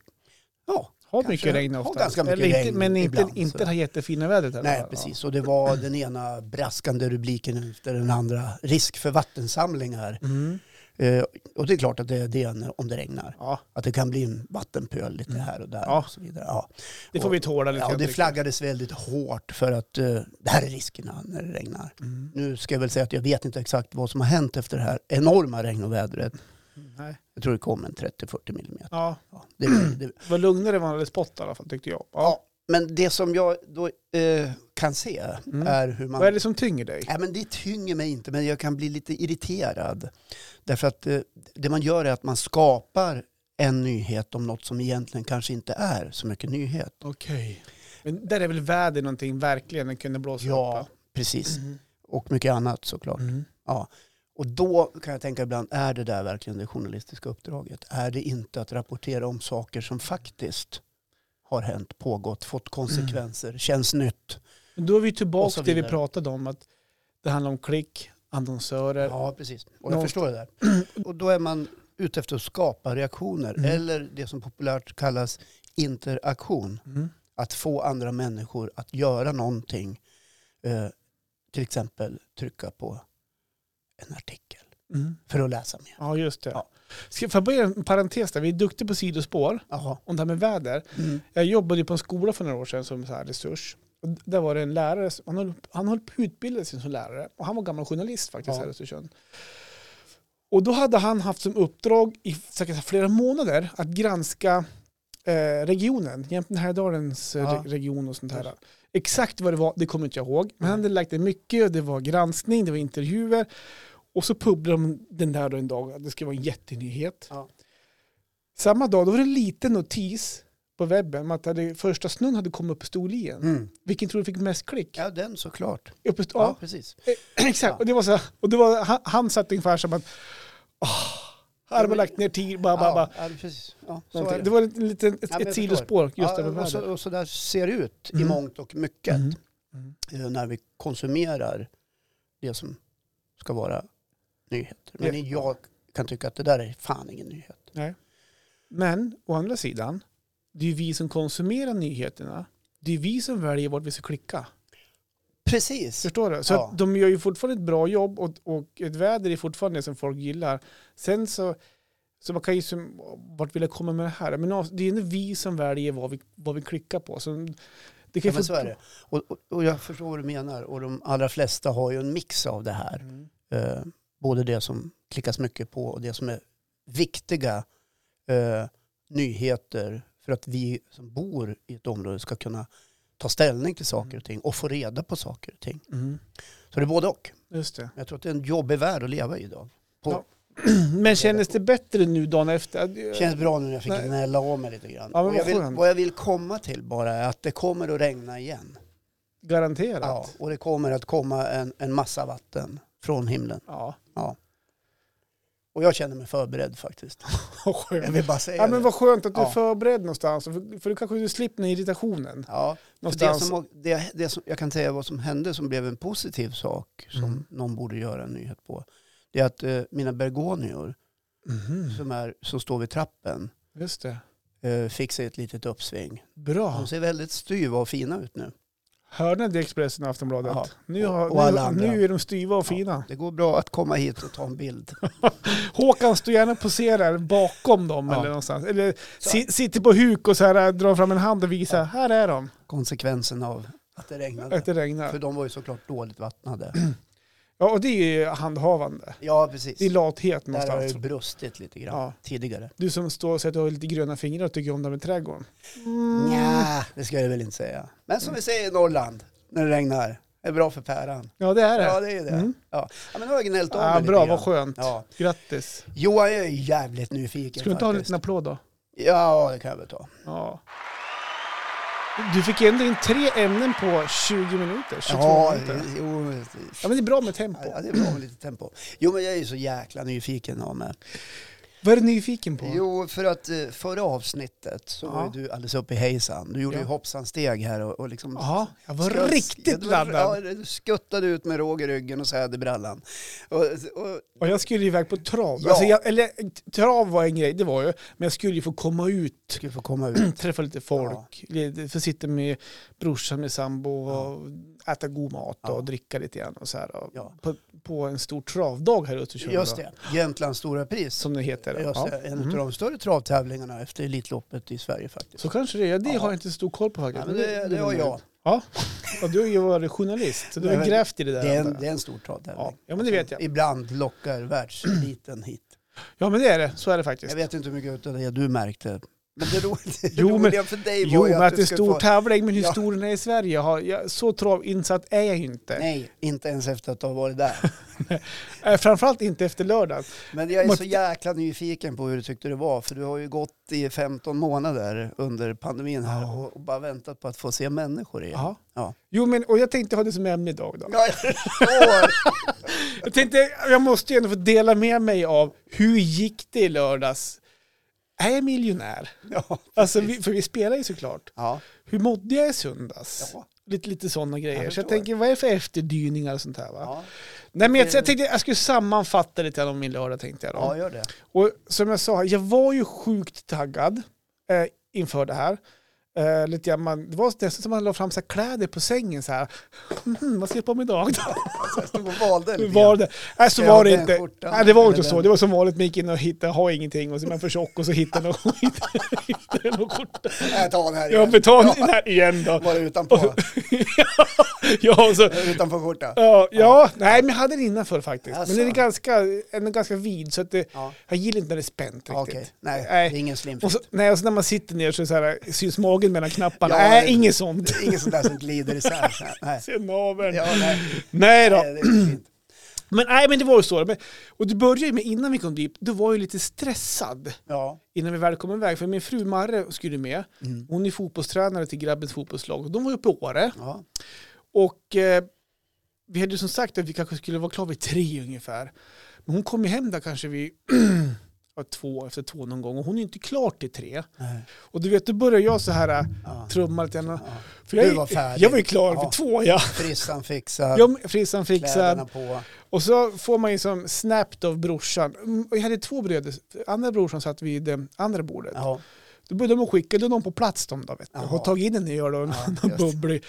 [SPEAKER 1] Ja,
[SPEAKER 2] Har
[SPEAKER 1] Kanske.
[SPEAKER 2] mycket regn
[SPEAKER 1] Har
[SPEAKER 2] ofta.
[SPEAKER 1] ganska mycket
[SPEAKER 2] Eller inte,
[SPEAKER 1] regn
[SPEAKER 2] men inte,
[SPEAKER 1] ibland,
[SPEAKER 2] inte
[SPEAKER 1] så.
[SPEAKER 2] det här jättefina vädret. i alla
[SPEAKER 1] Nej,
[SPEAKER 2] fall.
[SPEAKER 1] precis. Och det
[SPEAKER 2] (clears throat)
[SPEAKER 1] var den ena braskande rubriken efter den andra. Risk för vattensamlingar.
[SPEAKER 2] Ja. Mm.
[SPEAKER 1] Eh, och det är klart att det är det när- om det regnar.
[SPEAKER 2] Ja,
[SPEAKER 1] Att det kan bli en vattenpöl lite här och där.
[SPEAKER 2] Mm. Ja.
[SPEAKER 1] Och så vidare. Ja.
[SPEAKER 2] det får
[SPEAKER 1] Och-
[SPEAKER 2] vi tåla lite
[SPEAKER 1] Ja,
[SPEAKER 2] grann,
[SPEAKER 1] och det
[SPEAKER 2] tycker
[SPEAKER 1] flaggades väldigt hårt för att eh, det här är riskerna när det regnar.
[SPEAKER 2] jag. Mm.
[SPEAKER 1] Nu ska jag väl säga att jag vet inte exakt vad som har hänt efter det här enorma regnovädret.
[SPEAKER 2] Nej.
[SPEAKER 1] Jag tror det kom en 30-40 millimeter.
[SPEAKER 2] Ja,
[SPEAKER 1] Ja, det, är-
[SPEAKER 2] (clears throat)
[SPEAKER 1] det,
[SPEAKER 2] det var lugnare än vad man hade spott i alla fall tyckte jag. Ja.
[SPEAKER 1] Ja, men det som jag då, eh, kan se
[SPEAKER 2] Mm.
[SPEAKER 1] är hur man...
[SPEAKER 2] Vad är det som tynger dig?
[SPEAKER 1] Nej, men det tynger mig inte, men jag kan bli lite irriterad. Därför att eh, det man gör är att man skapar en nyhet om något som egentligen kanske inte är så mycket nyhet.
[SPEAKER 2] Okej. Men där är väl väder någonting verkligen den kunde blåsa
[SPEAKER 1] Ja,
[SPEAKER 2] upp?
[SPEAKER 1] precis.
[SPEAKER 2] Mm.
[SPEAKER 1] Och mycket annat såklart.
[SPEAKER 2] Mm.
[SPEAKER 1] Och då kan jag tänka ibland, är det där verkligen det journalistiska uppdraget? Är det inte att rapportera om saker som faktiskt har hänt, pågått, fått konsekvenser, känns nytt?
[SPEAKER 2] Men Då är vi
[SPEAKER 1] Och
[SPEAKER 2] tillbaka
[SPEAKER 1] så
[SPEAKER 2] till det vi
[SPEAKER 1] vidare.
[SPEAKER 2] pratade om, att det handlar om klick, annonsörer.
[SPEAKER 1] Ja, precis. Och jag
[SPEAKER 2] Någonstans-
[SPEAKER 1] förstår det där. (clears throat) Och då är man ute efter att skapa reaktioner,
[SPEAKER 2] Mm.
[SPEAKER 1] eller det som populärt kallas interaktion.
[SPEAKER 2] Mm.
[SPEAKER 1] Att få andra människor att göra någonting, eh, till exempel trycka på en artikel
[SPEAKER 2] Mm.
[SPEAKER 1] för att läsa mer.
[SPEAKER 2] Ja, just det.
[SPEAKER 1] Ja.
[SPEAKER 2] Ska jag börja en parentes där? Vi är duktiga på sidospår,
[SPEAKER 1] Jaha.
[SPEAKER 2] om det här med väder.
[SPEAKER 1] Mm.
[SPEAKER 2] Jag jobbade ju på en skola för några år sedan som så här resurs. Och d- där var det en lärare, som- han höll, han höll på att utbilda sig som lärare. Och han var gammal journalist faktiskt
[SPEAKER 1] Ja.
[SPEAKER 2] här i Östersund. Och då hade han haft som uppdrag i säkert flera månader att granska eh, regionen, Jämtland Härjedalens eh,
[SPEAKER 1] Ja.
[SPEAKER 2] re- region och sånt här. Exakt vad det var, det kommer inte jag ihåg. Men han hade lagt det mycket, det var granskning, det var intervjuer. Och så publicerade de den där då en dag, att det skulle vara en jättenyhet.
[SPEAKER 1] Ja.
[SPEAKER 2] Samma dag, då var det en liten notis på webben om att hade, första snön hade kommit upp i Storlien.
[SPEAKER 1] Mm.
[SPEAKER 2] Vilken tror du fick mest klick?
[SPEAKER 1] Ja, den såklart.
[SPEAKER 2] Upp i,
[SPEAKER 1] Ja,
[SPEAKER 2] ja, (clears throat)
[SPEAKER 1] precis.
[SPEAKER 2] exakt.
[SPEAKER 1] Ja.
[SPEAKER 2] Och det var så här- och det var, han, han satt ungefär som att, ah, här har man lagt ner tid, bara, bara, bara.
[SPEAKER 1] Ja, ja, precis. Ja, så är
[SPEAKER 2] Någonting.
[SPEAKER 1] det.
[SPEAKER 2] Det var ett, lite, ett,
[SPEAKER 1] Ja, men
[SPEAKER 2] ett
[SPEAKER 1] jag
[SPEAKER 2] sidospår just
[SPEAKER 1] Ja,
[SPEAKER 2] över
[SPEAKER 1] och, så,
[SPEAKER 2] världen.
[SPEAKER 1] och så där ser det ut i
[SPEAKER 2] Mm.
[SPEAKER 1] mångt och mycket
[SPEAKER 2] Mm. Mm.
[SPEAKER 1] eh, när vi konsumerar det som ska vara nyheter. Men
[SPEAKER 2] Ja.
[SPEAKER 1] jag kan tycka att det där är fan ingen nyhet.
[SPEAKER 2] Men å andra sidan, det är ju vi som konsumerar nyheterna. Det är vi som väljer vart vi ska klicka.
[SPEAKER 1] Precis.
[SPEAKER 2] Förstår du? Så
[SPEAKER 1] Ja.
[SPEAKER 2] att de gör ju fortfarande ett bra jobb och, och ett väder är fortfarande det som folk gillar. Sen så, så man kan ju, som, vart vill jag komma med det här? Men av- det är ju ändå vi som väljer vad vi, vad vi klickar på. Så det kan
[SPEAKER 1] Ja,
[SPEAKER 2] ju
[SPEAKER 1] men så är
[SPEAKER 2] fort-
[SPEAKER 1] det. Och, och, och jag förstår vad du menar. Och de allra flesta har ju en mix av det här.
[SPEAKER 2] Mm.
[SPEAKER 1] Eh, både det som klickas mycket på och det som är viktiga eh, nyheter för att vi som bor i ett område ska kunna ta ställning till saker och ting och få reda på saker och ting.
[SPEAKER 2] Mm.
[SPEAKER 1] Så det är både och.
[SPEAKER 2] Just det.
[SPEAKER 1] Men
[SPEAKER 2] (clears throat)
[SPEAKER 1] Jag tror att det är en jobbig värld att leva i idag. På,
[SPEAKER 2] Ja. Men kändes det bättre nu dagen efter?
[SPEAKER 1] Känns bra nu när jag fick
[SPEAKER 2] Nej.
[SPEAKER 1] gnälla av mig lite grann.
[SPEAKER 2] Ja, men
[SPEAKER 1] och jag
[SPEAKER 2] vad
[SPEAKER 1] vill,
[SPEAKER 2] skönt.
[SPEAKER 1] vad jag vill komma till bara är att det kommer att regna igen.
[SPEAKER 2] Garanterat.
[SPEAKER 1] Ja, och det kommer att komma en, en massa vatten från himlen. (laughs)
[SPEAKER 2] Ja.
[SPEAKER 1] Och jag känner mig förberedd faktiskt.
[SPEAKER 2] Vad
[SPEAKER 1] Jag
[SPEAKER 2] skönt.
[SPEAKER 1] vill bara säga
[SPEAKER 2] Ja, men
[SPEAKER 1] det.
[SPEAKER 2] vad skönt att du är
[SPEAKER 1] Ja.
[SPEAKER 2] förberedd någonstans. För, för du kanske du slipper den irritationen.
[SPEAKER 1] Ja, för det
[SPEAKER 2] Någonstans.
[SPEAKER 1] som, det, det som, jag kan säga vad som hände som blev en positiv sak som
[SPEAKER 2] Mm.
[SPEAKER 1] någon borde göra en nyhet på. Det är att eh, mina bergonior
[SPEAKER 2] Mhm.
[SPEAKER 1] som, är, som står vid trappen
[SPEAKER 2] Just det.
[SPEAKER 1] eh, fick sig ett litet uppsving.
[SPEAKER 2] Bra.
[SPEAKER 1] De ser väldigt styva och fina ut nu.
[SPEAKER 2] Hörde ni det Expressen och Aftonbladet?
[SPEAKER 1] Ja.
[SPEAKER 2] Nu, har,
[SPEAKER 1] Och alla
[SPEAKER 2] nu,
[SPEAKER 1] andra.
[SPEAKER 2] nu är de styva och
[SPEAKER 1] Ja.
[SPEAKER 2] fina.
[SPEAKER 1] Det går bra att komma hit och ta en bild.
[SPEAKER 2] Håkan står gärna och poserar bakom dem
[SPEAKER 1] Ja.
[SPEAKER 2] eller någonstans. Eller
[SPEAKER 1] Så.
[SPEAKER 2] si, sitter på huk och så här, äh, drar fram en hand och visar,
[SPEAKER 1] Ja.
[SPEAKER 2] här är de,
[SPEAKER 1] Konsekvensen av att det regnade.
[SPEAKER 2] att det regnar.
[SPEAKER 1] För de var ju såklart dåligt
[SPEAKER 2] (clears throat)
[SPEAKER 1] vattnade.
[SPEAKER 2] Ja, och det är ju handhavande.
[SPEAKER 1] Ja, precis.
[SPEAKER 2] Det är lathet
[SPEAKER 1] Där har det
[SPEAKER 2] någonstans.
[SPEAKER 1] ju brustit lite grann
[SPEAKER 2] Ja.
[SPEAKER 1] tidigare.
[SPEAKER 2] Du som står och säger att du har lite gröna fingrar och tycker om det med trädgården. Mm.
[SPEAKER 1] Nja, det ska jag väl inte säga. Men som vi säger i Norrland, när det regnar, det är bra för päran.
[SPEAKER 2] Ja, det är det.
[SPEAKER 1] Ja, det är ju det.
[SPEAKER 2] Mm.
[SPEAKER 1] Ja. ja, men nu har jag gnällt av
[SPEAKER 2] Ah,
[SPEAKER 1] mig
[SPEAKER 2] bra,
[SPEAKER 1] lite
[SPEAKER 2] vad
[SPEAKER 1] grann.
[SPEAKER 2] skönt.
[SPEAKER 1] Ja.
[SPEAKER 2] Grattis.
[SPEAKER 1] Johan, jag är jävligt nyfiken
[SPEAKER 2] Ska du inte ha en
[SPEAKER 1] faktiskt.
[SPEAKER 2] liten applåd då?
[SPEAKER 1] Ja, det kan jag väl ta.
[SPEAKER 2] Ja. Du fick ändå in tre ämnen på 20 minuter, 22
[SPEAKER 1] Ja,
[SPEAKER 2] minuter.
[SPEAKER 1] jo,
[SPEAKER 2] Ja, men det är bra med tempo.
[SPEAKER 1] ja, det är bra med lite tempo. Jo, men jag är ju så jäkla nyfiken av mig.
[SPEAKER 2] Vad är du nyfiken på?
[SPEAKER 1] Jo, för att eh, förra avsnitt så var ju
[SPEAKER 2] Ja.
[SPEAKER 1] du alldeles uppe i hejsan. Du gjorde
[SPEAKER 2] Ja.
[SPEAKER 1] ju hoppsansteg här och, och liksom...
[SPEAKER 2] Ja, jag var
[SPEAKER 1] Ska- ja,
[SPEAKER 2] riktigt
[SPEAKER 1] du var-
[SPEAKER 2] laddad.
[SPEAKER 1] Ja, du skuttade ut med råg i ryggen och säderbrallan. Och, och,
[SPEAKER 2] Och jag skulle ju iväg på trav.
[SPEAKER 1] Ja.
[SPEAKER 2] Alltså jag, eller trav var en grej, det var ju. Men jag skulle ju få komma ut, (clears throat)
[SPEAKER 1] skulle få komma ut.
[SPEAKER 2] träffa lite folk, lite- få sitta med brorsan, med sambo och äta god mat och
[SPEAKER 1] Ja.
[SPEAKER 2] dricka lite grann. Och så här, och
[SPEAKER 1] Ja.
[SPEAKER 2] på, på en stor travdag här i Östersund.
[SPEAKER 1] Just
[SPEAKER 2] då,
[SPEAKER 1] det, Jämtlands stora pris.
[SPEAKER 2] Som det heter.
[SPEAKER 1] Just
[SPEAKER 2] Ja.
[SPEAKER 1] det, en
[SPEAKER 2] Mm.
[SPEAKER 1] av de större travtävlingarna efter Elitloppet i Sverige faktiskt.
[SPEAKER 2] Så kanske det är. Det
[SPEAKER 1] Ja.
[SPEAKER 2] har jag inte så stor koll på
[SPEAKER 1] Nej,
[SPEAKER 2] faktiskt.
[SPEAKER 1] men det, det har
[SPEAKER 2] (laughs)
[SPEAKER 1] jag.
[SPEAKER 2] Och du har ju varit journalist, så du har ju
[SPEAKER 1] Nej,
[SPEAKER 2] grävt i det där.
[SPEAKER 1] Det är en,
[SPEAKER 2] antar jag.
[SPEAKER 1] det är en stor
[SPEAKER 2] ja.
[SPEAKER 1] travtävling. Alltså,
[SPEAKER 2] ja, men det vet jag.
[SPEAKER 1] Ibland lockar världseliten hit.
[SPEAKER 2] Ja, men det är det. Så är det faktiskt.
[SPEAKER 1] Jag vet inte hur mycket av det du märkte. Men det ro- det
[SPEAKER 2] (laughs) Jo, men-
[SPEAKER 1] roliga för dig var
[SPEAKER 2] Jo,
[SPEAKER 1] ju
[SPEAKER 2] men att det är
[SPEAKER 1] du
[SPEAKER 2] en
[SPEAKER 1] skulle
[SPEAKER 2] stor
[SPEAKER 1] få...
[SPEAKER 2] tävling, men hur
[SPEAKER 1] Ja.
[SPEAKER 2] stor den är i Sverige, har jag, så travinsatt är jag ju inte.
[SPEAKER 1] Nej, inte ens efter att ha varit där.
[SPEAKER 2] Eh, Framförallt inte efter lördagen.
[SPEAKER 1] Men jag är
[SPEAKER 2] Man-
[SPEAKER 1] så jäkla nyfiken på hur du tyckte det var. För du har ju gått i 15 månader under pandemin här
[SPEAKER 2] Ja.
[SPEAKER 1] och, och bara väntat på att få se människor igen.
[SPEAKER 2] Ja.
[SPEAKER 1] Ja.
[SPEAKER 2] Jo, men, och jag tänkte ha det som ämne idag. Då.
[SPEAKER 1] Ja, jag förstår.
[SPEAKER 2] Jag tänkte, jag måste ju ändå få dela med mig av hur gick det i lördags? Är jag miljonär?
[SPEAKER 1] (laughs) ja,
[SPEAKER 2] Alltså, vi, för vi spelar ju såklart.
[SPEAKER 1] ja.
[SPEAKER 2] Hur mådde jag i söndags?
[SPEAKER 1] Ja.
[SPEAKER 2] Lite, lite sådana grejer.
[SPEAKER 1] Jag
[SPEAKER 2] så jag
[SPEAKER 1] förstår.
[SPEAKER 2] tänker, vad är det för efterdyningar och sånt här? Va?
[SPEAKER 1] Ja.
[SPEAKER 2] Nej, men jag, jag tänkte jag skulle sammanfatta lite grann om min lördag tänkte jag. Då.
[SPEAKER 1] ja, gör det.
[SPEAKER 2] Och som jag sa, jag var ju sjukt taggad eh, inför det här. Eh, lite grann, man, det var nästan som att man la fram så här kläder på sängen så här. (laughs) Hmm, vad ska jag på mig idag då?
[SPEAKER 1] Jag stod och valde lite
[SPEAKER 2] Var
[SPEAKER 1] grann.
[SPEAKER 2] det? Nej, så
[SPEAKER 1] Ska jag ha
[SPEAKER 2] var det
[SPEAKER 1] den
[SPEAKER 2] inte.
[SPEAKER 1] skjortan
[SPEAKER 2] Nej, det var
[SPEAKER 1] eller
[SPEAKER 2] inte så.
[SPEAKER 1] den?
[SPEAKER 2] Det var som vanligt, man gick in och hittade, har ingenting och så är man för tjock och så hittar någon, (laughs) hittar- hittar någon skjorta.
[SPEAKER 1] Jag tar den här
[SPEAKER 2] Jag
[SPEAKER 1] igen.
[SPEAKER 2] betalade den här igen då.
[SPEAKER 1] Var det utanpå?
[SPEAKER 2] Ja, och så,
[SPEAKER 1] utanpå skjorta?
[SPEAKER 2] ja, ja, nej men jag hade den innanför faktiskt.
[SPEAKER 1] Alltså.
[SPEAKER 2] Men den är ganska, ändå ganska vid så att det,
[SPEAKER 1] Ja.
[SPEAKER 2] jag gillar inte när det är spänt riktigt.
[SPEAKER 1] Okej, nej,
[SPEAKER 2] Nej.
[SPEAKER 1] det är ingen
[SPEAKER 2] Och
[SPEAKER 1] slimfit.
[SPEAKER 2] så, nej, och så när man sitter ner så, är det så här, syns magen mellan knapparna.
[SPEAKER 1] Ja,
[SPEAKER 2] nej,
[SPEAKER 1] det-
[SPEAKER 2] inget sånt. (laughs)
[SPEAKER 1] Det är ingen sån där som glider isär. så här. Nej.
[SPEAKER 2] Se naveln.
[SPEAKER 1] Ja, nej.
[SPEAKER 2] Nej då.
[SPEAKER 1] nej, det är fint.
[SPEAKER 2] Men, nej, men det var ju så. Men, och det började ju med, innan vi kom dit, då var jag ju lite stressad
[SPEAKER 1] Ja,
[SPEAKER 2] innan vi väl kom iväg. För min fru Marre skulle med.
[SPEAKER 1] Mm.
[SPEAKER 2] Hon är fotbollstränare till grabbens fotbollslag. De var ju uppe i Åre.
[SPEAKER 1] ja.
[SPEAKER 2] Och eh, vi hade ju som sagt att vi kanske skulle vara klara vid tre ungefär. Men hon kom ju hem där kanske vid (clears throat) ja, två, efter två någon gång. Och hon är ju inte klar till tre.
[SPEAKER 1] Nej.
[SPEAKER 2] Och du vet, då börjar jag så här äh,
[SPEAKER 1] Ja.
[SPEAKER 2] trumma lite grann.
[SPEAKER 1] Ja.
[SPEAKER 2] För jag,
[SPEAKER 1] Du var färdig.
[SPEAKER 2] jag var ju klar
[SPEAKER 1] Ja.
[SPEAKER 2] för två, ja.
[SPEAKER 1] Frissan fixad,
[SPEAKER 2] Jag var frissan
[SPEAKER 1] kläderna
[SPEAKER 2] fixad.
[SPEAKER 1] på.
[SPEAKER 2] Och så får man ju som snappt av brorsan. Mm, och Jag hade två bröder, andra brorsan satt vid det andra bordet.
[SPEAKER 1] Ja.
[SPEAKER 2] Då började de skicka, då är de på plats de då vet du.
[SPEAKER 1] Jaha.
[SPEAKER 2] Och tagit in en öl och en
[SPEAKER 1] Ja,
[SPEAKER 2] ja,
[SPEAKER 1] just.
[SPEAKER 2] bubblig.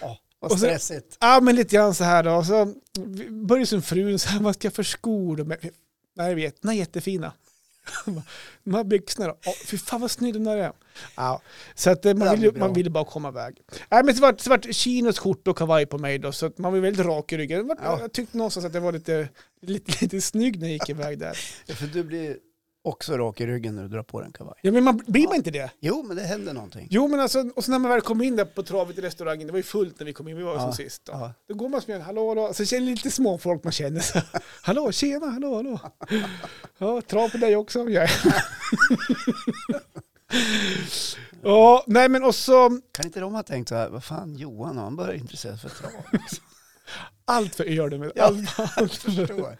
[SPEAKER 1] Ja. Vad
[SPEAKER 2] Och så-
[SPEAKER 1] stressigt.
[SPEAKER 2] Ja, men lite grann så här då. Så började som frun, så här, vad ska jag för skor? då? Men, Nej, jag vet, de är jättefina. (laughs) De här byxorna då? Åh, fy fan vad snygg de där är. Ja, så att eh,
[SPEAKER 1] Det där
[SPEAKER 2] man vill,
[SPEAKER 1] blir
[SPEAKER 2] ju-
[SPEAKER 1] bra.
[SPEAKER 2] man vill ju bara komma iväg. Nej, men det vart, det vart chinos, skjorta och kavaj på mig då, så att man var ju väldigt rak i ryggen. Det vart,
[SPEAKER 1] Ja.
[SPEAKER 2] Jag tyckte någonstans att jag var lite, lite, lite snygg när jag gick iväg där.
[SPEAKER 1] För du blir också rak i ryggen när du drar på dig en kavaj.
[SPEAKER 2] Ja, men man, blir man inte det?
[SPEAKER 1] Jo, men det händer någonting.
[SPEAKER 2] Jo, men alltså, och så när man väl kom in där på travet i restaurangen, det var ju fullt när vi kom in, vi var ju
[SPEAKER 1] Ja.
[SPEAKER 2] som sist. Då.
[SPEAKER 1] Ja.
[SPEAKER 2] Då går man som en hallå, hallå. Så känner lite småfolk man känner. (laughs) Så, hallå, tjena, hallå, hallå. Ja, trav på dig också. Ja. (laughs) ja, nej men och så
[SPEAKER 1] Kan inte de ha tänkt så här, vad fan Johan, han börjar intressera sig för
[SPEAKER 2] (laughs)
[SPEAKER 1] trav.
[SPEAKER 2] allt för gör det med.
[SPEAKER 1] Ja.
[SPEAKER 2] Allt, allt för,
[SPEAKER 1] Förstår.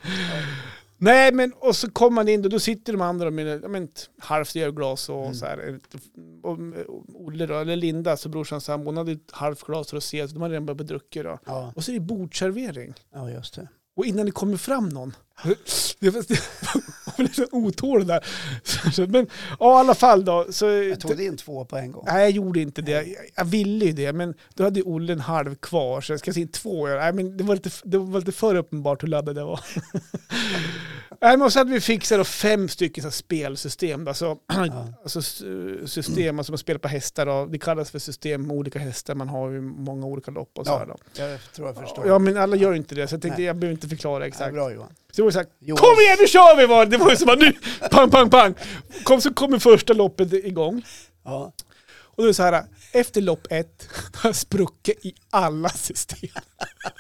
[SPEAKER 2] nej men och så kommer man in och då sitter de andra med ja, men, ett halvt ölglas och
[SPEAKER 1] Mm.
[SPEAKER 2] så här. ett- Och, och Olle då, eller Linda, så brorsan Sam, hon hade ett halvt glas rosé, så de hade redan börjat bedrucka då.
[SPEAKER 1] Ja,
[SPEAKER 2] Och så är det bordservering.
[SPEAKER 1] ja, just det.
[SPEAKER 2] Och innan det kommer fram någon. Det (laughs) var jag blev så otålig där. Så- så- Men ja, i alla fall då. Så,
[SPEAKER 1] Jag tog in två på en gång.
[SPEAKER 2] Nej, jag gjorde inte det. Jag- Jag ville ju det, men då hade ju Olle en halv kvar. Så jag ska säga två. Nej, men det, var lite, det var lite för uppenbart hur
[SPEAKER 1] (laughs)
[SPEAKER 2] laddad jag var. Nej, men och så hade vi fixat då fem stycken så här spelsystem. Då. Så,
[SPEAKER 1] Ja.
[SPEAKER 2] (clears throat) alltså, sy- system alltså man spelar på hästar. Då. Det kallas för system med olika hästar. Man har ju många olika lopp och så
[SPEAKER 1] Ja,
[SPEAKER 2] här. Då.
[SPEAKER 1] Jag tror jag förstår.
[SPEAKER 2] Ja, men alla gör ju inte det. Så jag tänkte,
[SPEAKER 1] Nej.
[SPEAKER 2] jag behöver inte förklara
[SPEAKER 1] Ja,
[SPEAKER 2] exakt.
[SPEAKER 1] bra Johan.
[SPEAKER 2] Så det var så här,
[SPEAKER 1] Johan.
[SPEAKER 2] kom igen nu kör vi var det. Det var ju som att nu, pang, pang, pang. Kom så kommer första loppet igång.
[SPEAKER 1] Ja.
[SPEAKER 2] Och då är det så här, efter lopp ett, (laughs) då har jag spruckit i alla system. (laughs)